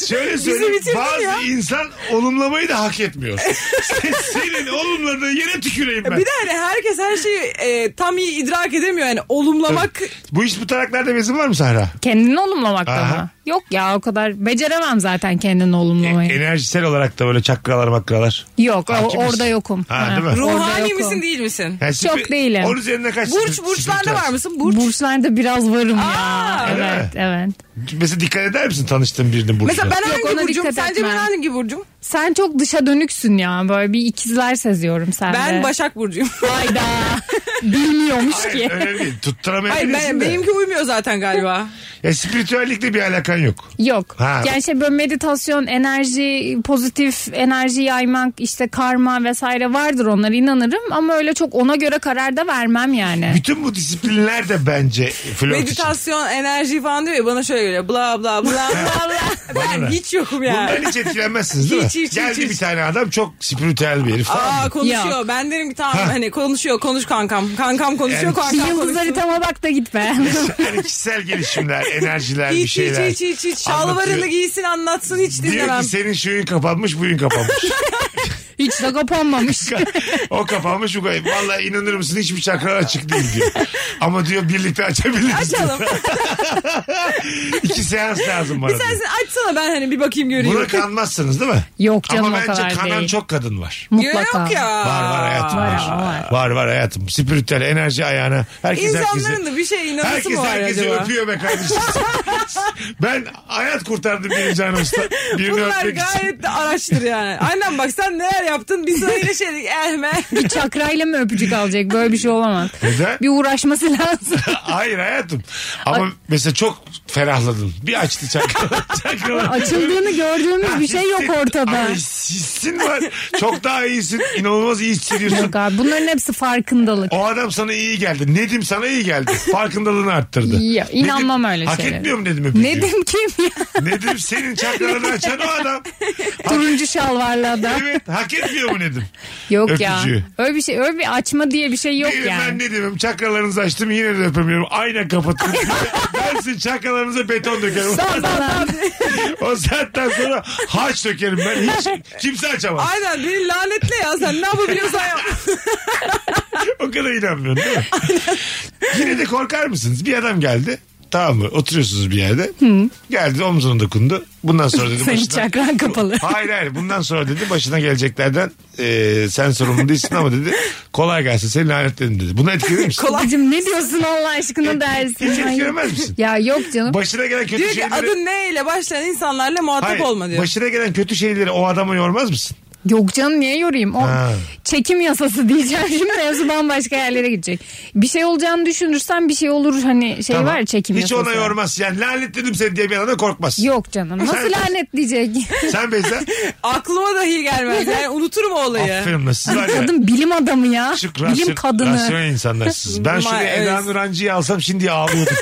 [SPEAKER 3] Şöyle söyleyeyim
[SPEAKER 4] bitirdin
[SPEAKER 3] bazı
[SPEAKER 4] ya.
[SPEAKER 3] insan olumlamayı da hak etmiyor. Sen- Senin olumladığın yere tüküreyim ben.
[SPEAKER 4] *laughs* bir de hani herkes her şeyi e, tam iyi idrak edemiyor yani olumlamak.
[SPEAKER 3] Bu iş bu taraklarda bezin var mı Sahra?
[SPEAKER 5] Kendini olumlamakta
[SPEAKER 3] Aha. E,
[SPEAKER 5] mı? Yok ya o kadar beceremem zaten kendini olumlamayı.
[SPEAKER 3] Enerjisel olarak da böyle çakralar makralar.
[SPEAKER 5] Yok o-
[SPEAKER 3] Hakim misin?
[SPEAKER 5] orada yokum.
[SPEAKER 3] Ha, değil mi?
[SPEAKER 5] orada
[SPEAKER 4] Ruhani
[SPEAKER 5] yokum.
[SPEAKER 4] misin değil misin?
[SPEAKER 3] Yani
[SPEAKER 5] Çok
[SPEAKER 3] spi-
[SPEAKER 5] değilim.
[SPEAKER 3] Onun üzerinde kaç?
[SPEAKER 4] Burç
[SPEAKER 3] spi-
[SPEAKER 4] burçlarda
[SPEAKER 3] spiritüel?
[SPEAKER 4] var mısın? Burç.
[SPEAKER 5] Burçlarda biraz varım ya.
[SPEAKER 4] Aa,
[SPEAKER 3] öyle
[SPEAKER 5] Evet evet.
[SPEAKER 3] Mesela dikkat eder misin tanıştığın birinin burcuna?
[SPEAKER 4] Mesela ben
[SPEAKER 5] Yok,
[SPEAKER 4] hangi
[SPEAKER 5] ona
[SPEAKER 4] burcum?
[SPEAKER 5] dikkat
[SPEAKER 4] Sence ben
[SPEAKER 5] etmem.
[SPEAKER 4] hangi burcum?
[SPEAKER 5] Sen çok dışa dönüksün ya. Böyle bir ikizler seziyorum sende.
[SPEAKER 4] Ben Başak burcuyum.
[SPEAKER 5] Hayda. *laughs* Bilmiyormuş
[SPEAKER 3] Hayır,
[SPEAKER 5] ki.
[SPEAKER 3] öyle değil.
[SPEAKER 4] Hayır
[SPEAKER 3] Tutturamayabilirsin
[SPEAKER 4] ben,
[SPEAKER 3] de.
[SPEAKER 4] benimki uymuyor zaten galiba.
[SPEAKER 3] Ya spiritüellikle bir alakan yok.
[SPEAKER 5] Yok.
[SPEAKER 3] Ha.
[SPEAKER 5] Yani şey böyle meditasyon, enerji, pozitif enerji yaymak, işte karma vesaire vardır onlara inanırım ama öyle çok ona göre karar da vermem yani.
[SPEAKER 3] Bütün bu disiplinler de bence flört için.
[SPEAKER 4] Meditasyon, enerji falan diyor ya bana şöyle geliyor. Bla
[SPEAKER 3] *laughs*
[SPEAKER 4] bla bla bla bla. ben
[SPEAKER 3] Bana ne?
[SPEAKER 4] hiç yokum yani.
[SPEAKER 3] Bundan hiç etkilenmezsiniz değil
[SPEAKER 4] Hiç,
[SPEAKER 3] mi?
[SPEAKER 4] hiç, hiç,
[SPEAKER 3] Geldi
[SPEAKER 4] hiç.
[SPEAKER 3] bir tane adam çok spiritüel bir herif. tamam
[SPEAKER 4] Aa
[SPEAKER 3] mı?
[SPEAKER 4] konuşuyor.
[SPEAKER 5] Yok.
[SPEAKER 4] Ben derim ki tamam hani konuşuyor konuş kankam. Kankam konuşuyor
[SPEAKER 3] Yani-
[SPEAKER 5] Bir
[SPEAKER 4] kankam
[SPEAKER 5] Yıldız
[SPEAKER 4] konuşuyor.
[SPEAKER 5] haritama bak
[SPEAKER 3] *laughs*
[SPEAKER 5] da gitme.
[SPEAKER 3] Yani kişisel
[SPEAKER 4] *laughs*
[SPEAKER 3] gelişimler, enerjiler, bir
[SPEAKER 4] Hiç, hiç
[SPEAKER 3] şeyler.
[SPEAKER 4] hiç hiç hiç.
[SPEAKER 3] anlatıyor.
[SPEAKER 4] Şalvarını giysin anlatsın hiç
[SPEAKER 3] Diyor
[SPEAKER 4] dinlemem. *laughs*
[SPEAKER 3] ki senin şuyun kapanmış, buyun kapanmış.
[SPEAKER 5] Hiç de kapanmamış.
[SPEAKER 3] o kapanmış bu kayıp. Vallahi inanır mısın hiçbir çakra açık değil diyor. Ama diyor birlikte açabiliriz.
[SPEAKER 4] Açalım.
[SPEAKER 3] *laughs* İki seans lazım bana.
[SPEAKER 4] bir
[SPEAKER 3] diyor.
[SPEAKER 4] sensin açsana ben hani bir bakayım göreyim.
[SPEAKER 3] Buna kanmazsınız değil mi?
[SPEAKER 5] Yok canım
[SPEAKER 3] Ama
[SPEAKER 5] o
[SPEAKER 3] bence
[SPEAKER 5] kadar
[SPEAKER 3] kanan
[SPEAKER 5] değil.
[SPEAKER 3] çok kadın var.
[SPEAKER 5] Mutlaka.
[SPEAKER 4] Yok ya.
[SPEAKER 3] Var var hayatım var.
[SPEAKER 5] Var
[SPEAKER 3] Var
[SPEAKER 5] ama
[SPEAKER 3] var,
[SPEAKER 5] var.
[SPEAKER 3] hayatım. Spiritüel enerji ayağına. Herkes herkese.
[SPEAKER 4] İnsanların da bir şeye inanması
[SPEAKER 3] Herkes
[SPEAKER 4] mı var
[SPEAKER 3] herkesi
[SPEAKER 4] acaba?
[SPEAKER 3] öpüyor be kardeşim. ben hayat kurtardım benim canımızda. Birini
[SPEAKER 4] Bunlar
[SPEAKER 3] öpmek için.
[SPEAKER 4] gayet de araştır yani. Annem bak sen neler yaptın biz sana yine şey eh, şeydik ehme.
[SPEAKER 5] Bir çakrayla mı öpücük alacak? Böyle bir şey olamaz.
[SPEAKER 3] Neden?
[SPEAKER 5] Bir uğraşması lazım.
[SPEAKER 3] *laughs* Hayır hayatım. Ama mesela çok ferahladın. Bir açtı çakra. *laughs* çakralar.
[SPEAKER 5] Açıldığını gördüğümüz bir şey yok
[SPEAKER 3] Hissin-
[SPEAKER 5] ortada.
[SPEAKER 3] Ama his- hissin var. Çok daha iyisin. İnanılmaz iyi hissediyorsun.
[SPEAKER 5] Yok abi bunların hepsi farkındalık.
[SPEAKER 3] O adam sana iyi geldi. Nedim sana iyi geldi. Farkındalığını arttırdı.
[SPEAKER 5] Ya, inanmam öyle
[SPEAKER 3] Hak
[SPEAKER 5] şeylere.
[SPEAKER 3] etmiyor mu Nedim öpücüğü?
[SPEAKER 5] Nedim kim ya?
[SPEAKER 3] Nedim senin çakralarını açan o adam.
[SPEAKER 5] *laughs* Turuncu şalvarlı adam.
[SPEAKER 3] Evet hak etmiyor mu Nedim?
[SPEAKER 5] Yok
[SPEAKER 3] Öpücüğü.
[SPEAKER 5] ya. Öyle bir şey, öyle bir açma diye bir şey yok
[SPEAKER 3] Değil mi? ben
[SPEAKER 5] yani.
[SPEAKER 3] ne demem çakralarınızı açtım yine de öpemiyorum. Aynen
[SPEAKER 5] *laughs*
[SPEAKER 3] kapattım. ben sizin çakralarınıza beton dökerim.
[SPEAKER 5] Sandalan.
[SPEAKER 3] o saatten sonra haç dökerim ben. Hiç kimse açamaz.
[SPEAKER 4] Aynen beni lanetle ya sen ne yapabiliyorsan yap.
[SPEAKER 3] O kadar inanmıyorsun değil mi? Yine de korkar mısınız? Bir adam geldi. Tamam mı? Oturuyorsunuz bir yerde. Geldi omzuna dokundu. Bundan sonra dedi
[SPEAKER 5] *laughs* Senin
[SPEAKER 3] başına...
[SPEAKER 5] çakran kapalı.
[SPEAKER 3] Hayır hayır bundan sonra dedi başına geleceklerden e, sen sorumlu değilsin ama dedi kolay gelsin seni lanetledim dedi. Buna etkilenir misin?
[SPEAKER 5] Babacım ne diyorsun Allah aşkına dersin.
[SPEAKER 3] Hiç
[SPEAKER 5] Hayır.
[SPEAKER 3] etkilemez misin?
[SPEAKER 5] Ya yok canım.
[SPEAKER 3] Başına gelen kötü
[SPEAKER 4] Diyor ki
[SPEAKER 3] şeyleri...
[SPEAKER 4] adın ne ile başlayan insanlarla muhatap
[SPEAKER 3] Hayır,
[SPEAKER 4] olma diyor.
[SPEAKER 3] Başına gelen kötü şeyleri o adama yormaz mısın?
[SPEAKER 5] Yok canım niye yorayım? O
[SPEAKER 3] Ha.
[SPEAKER 5] çekim yasası diyeceğim. Şimdi mevzu bambaşka yerlere gidecek. Bir şey olacağını düşünürsen bir şey olur hani şey
[SPEAKER 3] Tamam.
[SPEAKER 5] var ya çekim
[SPEAKER 3] Hiç
[SPEAKER 5] yasası.
[SPEAKER 3] ona yormaz. Yani lanetledim seni diye bir adama korkmaz.
[SPEAKER 5] Yok canım. Nasıl lanet diyecek?
[SPEAKER 3] Sen Beyza.
[SPEAKER 4] Aklıma dahi
[SPEAKER 3] *laughs*
[SPEAKER 4] gelmez yani unuturum o olayı.
[SPEAKER 3] Aferin lan siz var ya.
[SPEAKER 5] Kadın bilim adamı ya.
[SPEAKER 3] Çık
[SPEAKER 5] bilim
[SPEAKER 3] rasyon,
[SPEAKER 5] kadını.
[SPEAKER 3] rasyonel insanlarsınız. Ben şunu
[SPEAKER 4] Maalesef.
[SPEAKER 3] Eda Nurancı'yı alsam şimdi
[SPEAKER 4] *laughs*
[SPEAKER 3] ağlıyordum.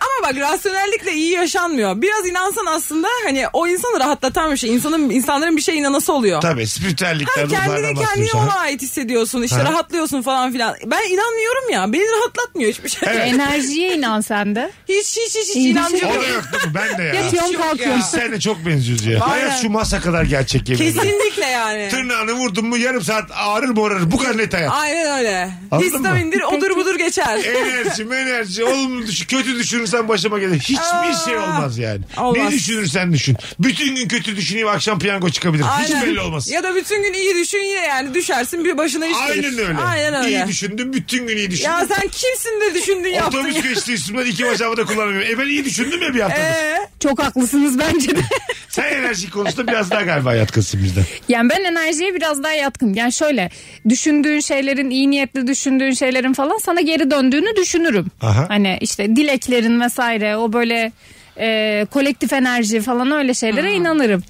[SPEAKER 4] Ama bak rasyonellikle iyi yaşanmıyor. Biraz inansan aslında hani o insanı rahatlatan bir şey. İnsanın, insanların bir şeye inanası oluyor.
[SPEAKER 3] Tabii spiritüellikten
[SPEAKER 4] Hem kendini
[SPEAKER 3] ruhlardan bahsediyoruz.
[SPEAKER 4] kendine ona ait hissediyorsun işte
[SPEAKER 3] Ha.
[SPEAKER 4] rahatlıyorsun falan filan. Ben inanmıyorum ya beni rahatlatmıyor hiçbir şey.
[SPEAKER 3] Evet.
[SPEAKER 5] Enerjiye inan sen de.
[SPEAKER 4] Hiç hiç hiç, hiç
[SPEAKER 5] İyi
[SPEAKER 4] inancım
[SPEAKER 3] O *laughs*
[SPEAKER 4] yok.
[SPEAKER 3] da yok değil mi? Ben de ya.
[SPEAKER 5] Yatıyorum
[SPEAKER 4] yok ya.
[SPEAKER 5] kalkıyorum.
[SPEAKER 3] Biz seninle çok benziyoruz ya.
[SPEAKER 4] Aynen.
[SPEAKER 3] Hayat şu masa kadar gerçek yemin ederim.
[SPEAKER 4] Kesinlikle yani.
[SPEAKER 3] Tırnağını vurdun mu yarım saat ağrır morarır. Bu kadar net hayat.
[SPEAKER 4] Aynen öyle.
[SPEAKER 3] Anladın
[SPEAKER 4] Histamindir odur budur geçer.
[SPEAKER 3] Enerji, enerji, olumlu düşün, kötü düşünürsen başıma gelir. Hiçbir şey olmaz yani. Ne
[SPEAKER 4] Olmaz.
[SPEAKER 3] düşünürsen düşün. Bütün gün kötü düşüneyim akşam piyango çıkabilir. Hiç belli olmaz.
[SPEAKER 4] Ya da bütün gün iyi düşün yine yani düşersin bir başına iş gelir.
[SPEAKER 3] Aynen öyle.
[SPEAKER 4] Aynen öyle.
[SPEAKER 3] İyi düşündüm, bütün gün iyi düşündüm.
[SPEAKER 4] ya sen kimsin de düşündün yaptın.
[SPEAKER 3] Otobüs
[SPEAKER 4] ya?
[SPEAKER 3] geçti üstümden iki bacağımı da kullanamıyorum. E ben iyi düşündüm ya bir haftadır.
[SPEAKER 4] Ee,
[SPEAKER 5] Çok haklısınız
[SPEAKER 3] *laughs*
[SPEAKER 5] bence de.
[SPEAKER 3] Sen enerji konusunda biraz daha galiba yatkınsın bizden.
[SPEAKER 5] Yani ben enerjiye biraz daha yatkınım. Yani şöyle düşündüğün şeylerin iyi niyetli düşündüğün şeylerin falan sana geri döndüğünü düşünürüm.
[SPEAKER 3] Aha.
[SPEAKER 5] Hani işte dileklerin vesaire o böyle e, kolektif enerji falan öyle şeylere inanırım.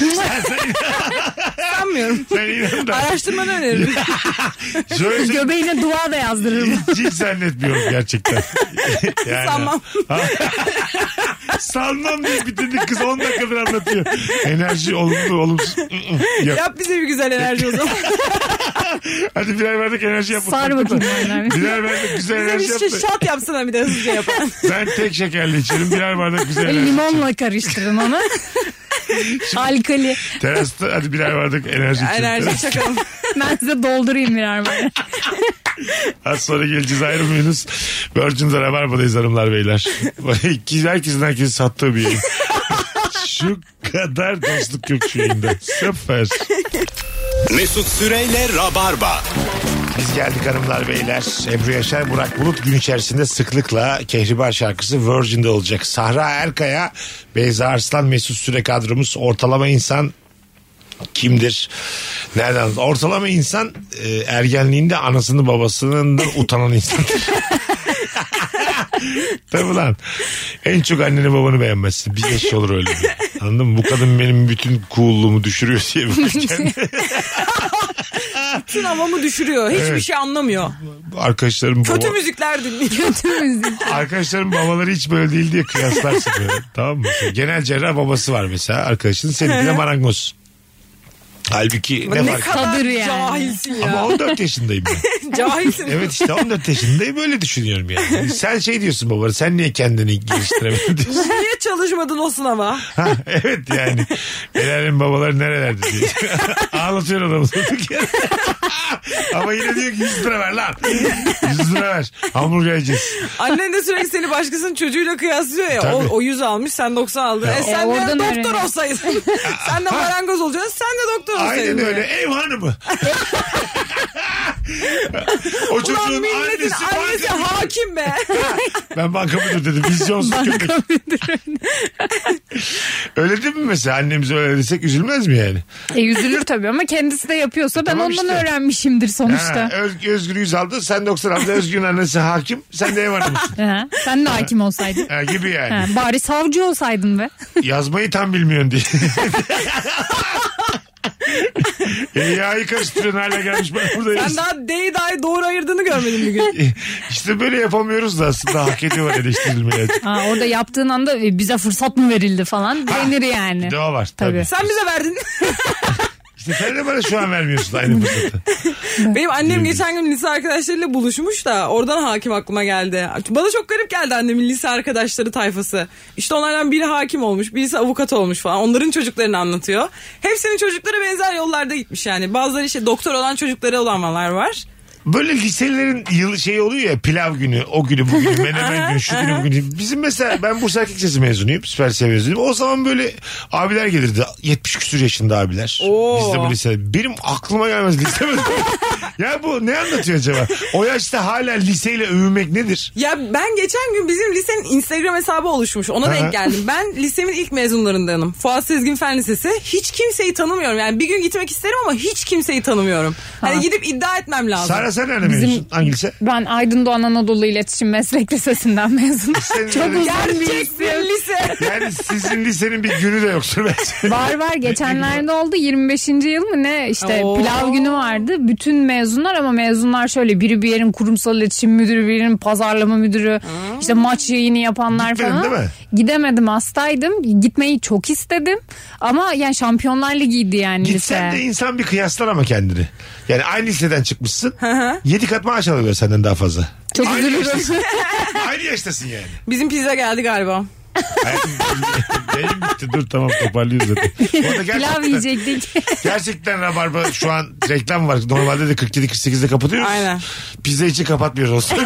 [SPEAKER 3] *laughs*
[SPEAKER 4] sanmıyorum.
[SPEAKER 3] Sen inan da.
[SPEAKER 4] Araştırmanı öneririm.
[SPEAKER 3] Şöyle söyleyeyim,
[SPEAKER 5] Göbeğine dua
[SPEAKER 3] *laughs*
[SPEAKER 5] da yazdırırım.
[SPEAKER 3] hiç, hiç zannetmiyorum
[SPEAKER 4] *laughs*
[SPEAKER 3] gerçekten. Yani-
[SPEAKER 4] Sanmam.
[SPEAKER 3] Sanmam diye bitirdik kız 10 dakikadır anlatıyor. Enerji olumlu olumsuz. Yok.
[SPEAKER 4] Yap bize bir güzel enerji o zaman.
[SPEAKER 3] Hadi birer verdik enerji yapalım.
[SPEAKER 5] Sar bakayım yani.
[SPEAKER 3] Birer verdik güzel *laughs*
[SPEAKER 4] Bize
[SPEAKER 3] enerji
[SPEAKER 4] bir şey
[SPEAKER 3] yaptı.
[SPEAKER 4] şat yapsana bir de
[SPEAKER 3] *laughs*
[SPEAKER 4] hızlıca yapalım.
[SPEAKER 3] Ben tek şekerli içerim birer bardak güzel
[SPEAKER 5] Böyle
[SPEAKER 3] enerji.
[SPEAKER 5] limonla
[SPEAKER 3] *laughs*
[SPEAKER 5] karıştırırım onu. Alkali.
[SPEAKER 3] Terasta hadi birer bardak enerji içerim.
[SPEAKER 4] enerji çakalım.
[SPEAKER 5] Ben size doldurayım
[SPEAKER 3] *laughs*
[SPEAKER 5] birer böyle.
[SPEAKER 3] Az sonra geleceğiz ayrılmayınız. Virgin'de Rabarba'dayız hanımlar beyler. Herkesin herkesi sattığı bir yayın. Şu kadar dostluk yok şu yayında. Sıfır.
[SPEAKER 2] Mesut Süreyle Rabarba.
[SPEAKER 3] Biz geldik hanımlar beyler. Ebru Yaşar, Burak Bulut gün içerisinde sıklıkla Kehribar şarkısı Virgin'de olacak. Sahra Erkaya, Beyza Arslan, Mesut Süre kadromuz. Ortalama insan kimdir? Nereden? Ortalama insan e, ergenliğinde anasını babasının da utanan insan. *laughs* Tabii lan. En çok anneni babanı beğenmezsin. Bir eş olur öyle. bir. Anladın mı? Bu kadın benim bütün cool'luğumu düşürüyor diye bakırken
[SPEAKER 4] Bütün havamı düşürüyor. Hiçbir
[SPEAKER 3] Evet.
[SPEAKER 4] şey anlamıyor.
[SPEAKER 3] arkadaşlarım baba...
[SPEAKER 4] Kötü müzikler dinliyor.
[SPEAKER 5] Kötü müzik.
[SPEAKER 3] Arkadaşların babaları hiç böyle değil diye kıyaslarsın böyle. tamam mı? Genel cerrah babası var mesela arkadaşın. Seninki de marangoz. Halbuki *laughs* ne,
[SPEAKER 4] Ne,
[SPEAKER 3] fark?
[SPEAKER 4] kadar
[SPEAKER 5] Sabır yani.
[SPEAKER 4] cahilsin ya.
[SPEAKER 3] Ama 14 yaşındayım ben.
[SPEAKER 4] Cahilsin.
[SPEAKER 3] Evet işte 14 yaşındayım böyle düşünüyorum yani. Sen şey diyorsun baba sen niye kendini geliştiremedin diyorsun.
[SPEAKER 4] Niye çalışmadın o sınava?
[SPEAKER 3] Ha, evet yani. Belal'in babaları nerelerde diye. *laughs* Ağlatıyor adamı. *laughs* durduk yere. Ama yine diyor ki 100 lira ver lan. 100 lira ver. Hamburger yiyeceğiz.
[SPEAKER 4] Annen de sürekli seni başkasının çocuğuyla kıyaslıyor ya.
[SPEAKER 3] Tabii.
[SPEAKER 4] O, o 100 almış sen 90 aldın. E, sen
[SPEAKER 5] E,
[SPEAKER 4] de
[SPEAKER 5] oradan
[SPEAKER 4] doktor
[SPEAKER 3] *laughs*
[SPEAKER 5] öğreniyor.
[SPEAKER 4] olsaydın. sen de marangoz olacaksın sen de doktor olsaydın.
[SPEAKER 3] Aynen
[SPEAKER 4] yani.
[SPEAKER 3] öyle. Ev hanımı. o çocuğun
[SPEAKER 4] Ulan milletin
[SPEAKER 3] annesi,
[SPEAKER 4] annesi
[SPEAKER 3] banka-
[SPEAKER 4] hakim be.
[SPEAKER 3] Ben banka müdürü dedim. Vizyonsuz köpek. *laughs* öyle değil mi mesela? Annemize öyle desek üzülmez mi yani?
[SPEAKER 5] E, üzülür tabii ama kendisi de yapıyorsa ben
[SPEAKER 3] Tamam
[SPEAKER 5] ondan
[SPEAKER 3] işte.
[SPEAKER 5] öğrenmişimdir sonuçta.
[SPEAKER 3] Ha, Öz, Özgür yüz aldı. Sen 90 aldı. Özgür'ün annesi hakim. Sen de ev hanımısın.
[SPEAKER 5] Ha, sen de hakim olsaydın.
[SPEAKER 3] Ha, gibi
[SPEAKER 5] Ha,
[SPEAKER 3] yani.
[SPEAKER 5] bari savcı olsaydın be.
[SPEAKER 3] Yazmayı tam bilmiyorsun diye. Dünyayı E, karıştırıyorsun hala gelmiş ben buradayım.
[SPEAKER 4] ben daha D'yi dahi doğru ayırdığını görmedim bir
[SPEAKER 3] *laughs*
[SPEAKER 4] gün.
[SPEAKER 3] İşte böyle yapamıyoruz da aslında hak ediyorlar eleştirilmeye.
[SPEAKER 5] Ha, orada yaptığın anda e, bize fırsat mı verildi falan denir yani.
[SPEAKER 3] Bir de o var tabii.
[SPEAKER 5] Tabii.
[SPEAKER 4] Sen bize verdin.
[SPEAKER 3] İşte sen de bana şu an vermiyorsun aynı fırsatı.
[SPEAKER 4] Benim annem geçen gün lise arkadaşlarıyla buluşmuş da oradan hakim aklıma geldi. Bana çok garip geldi annemin lise arkadaşları tayfası. İşte onlardan biri hakim olmuş, birisi avukat olmuş falan. Onların çocuklarını anlatıyor. Hepsinin çocukları benzer yollarda gitmiş yani. Bazıları işte doktor olan çocukları olanlar var.
[SPEAKER 3] Böyle liselerin yıl şey oluyor ya pilav günü, o günü, bu günü, menemen günü, şu günü, bu günü. Bizim mesela ben Bursa Erkek Lisesi mezunuyum, süper lise mezunuyum. O zaman böyle abiler gelirdi. 70 küsur yaşında abiler.
[SPEAKER 4] Oo.
[SPEAKER 3] Bizde bu lise. Benim aklıma gelmez lise mezunu. *laughs* ya bu ne anlatıyor acaba? O yaşta hala liseyle övünmek nedir?
[SPEAKER 4] Ya ben geçen gün bizim lisenin Instagram hesabı oluşmuş. Ona
[SPEAKER 3] Aha.
[SPEAKER 4] denk geldim. Ben lisemin ilk mezunlarındanım. Fuat Sezgin Fen Lisesi. Hiç kimseyi tanımıyorum. Yani bir gün gitmek isterim ama hiç kimseyi tanımıyorum. Hani gidip iddia etmem lazım.
[SPEAKER 3] Sara sen nerede mezunsun? Hangi lise?
[SPEAKER 5] Ben Aydın Doğan Anadolu İletişim Meslek Lisesi'nden mezunum.
[SPEAKER 3] Senin
[SPEAKER 5] Çok
[SPEAKER 3] öyle-
[SPEAKER 5] uzun bir
[SPEAKER 4] Gerçek bir
[SPEAKER 5] isim.
[SPEAKER 4] lise.
[SPEAKER 3] Yani sizin lisenin bir günü de yoktur bence.
[SPEAKER 5] Var var geçenlerde oldu 25. yıl mı ne işte
[SPEAKER 4] Oo.
[SPEAKER 5] pilav günü vardı. Bütün mezunlar ama mezunlar şöyle biri bir yerin kurumsal iletişim müdürü birinin pazarlama müdürü işte maç yayını yapanlar
[SPEAKER 3] Gitmedin
[SPEAKER 5] falan.
[SPEAKER 3] değil mi?
[SPEAKER 5] Gidemedim hastaydım gitmeyi çok istedim ama yani şampiyonlar ligiydi yani
[SPEAKER 3] Gitsen de
[SPEAKER 5] lise.
[SPEAKER 3] insan bir kıyaslar ama kendini. Yani aynı liseden çıkmışsın. Yedi kat maaş alıyorlar senden daha fazla.
[SPEAKER 5] Çok
[SPEAKER 3] Aynı şey.
[SPEAKER 5] üzülürüm. *laughs*
[SPEAKER 3] yaştasın. aynı yaştasın yani.
[SPEAKER 4] Bizim pizza geldi galiba.
[SPEAKER 3] Hayatım, Benim bitti dur tamam toparlıyoruz zaten. Orada
[SPEAKER 5] pilav
[SPEAKER 3] gerçekten,
[SPEAKER 5] yiyecektik. *laughs*
[SPEAKER 3] gerçekten rabarba şu an reklam var. Normalde de 47-48'de kapatıyoruz.
[SPEAKER 4] Aynen.
[SPEAKER 3] Pizza için kapatmıyoruz
[SPEAKER 5] *laughs*
[SPEAKER 3] olsun.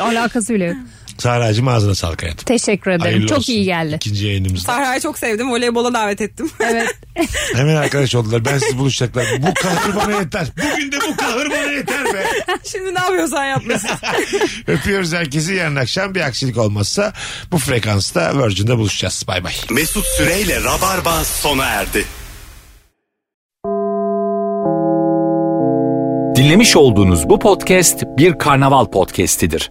[SPEAKER 5] Alakası bile yok.
[SPEAKER 3] Sahra'cığım ağzına sağlık hayatım.
[SPEAKER 5] Teşekkür ederim.
[SPEAKER 3] Hayırlı
[SPEAKER 5] çok
[SPEAKER 3] olsun.
[SPEAKER 5] iyi geldi.
[SPEAKER 3] İkinci yayınımızda.
[SPEAKER 4] Sahra'yı çok sevdim. Voleybola davet ettim. *laughs*
[SPEAKER 5] Evet.
[SPEAKER 3] Hemen arkadaş oldular. Ben sizi buluşacaklar. Bu kahır bana yeter. Bugün de bu kahır bana yeter
[SPEAKER 5] *laughs*
[SPEAKER 3] be.
[SPEAKER 4] Şimdi ne yapıyorsan yap Mesut.
[SPEAKER 3] Öpüyoruz herkesi. Yarın akşam bir aksilik olmazsa bu frekansta Virgin'de buluşacağız. Bay bay.
[SPEAKER 2] Mesut Süreyle Rabarba sona erdi.
[SPEAKER 1] Dinlemiş olduğunuz bu podcast bir karnaval podcastidir.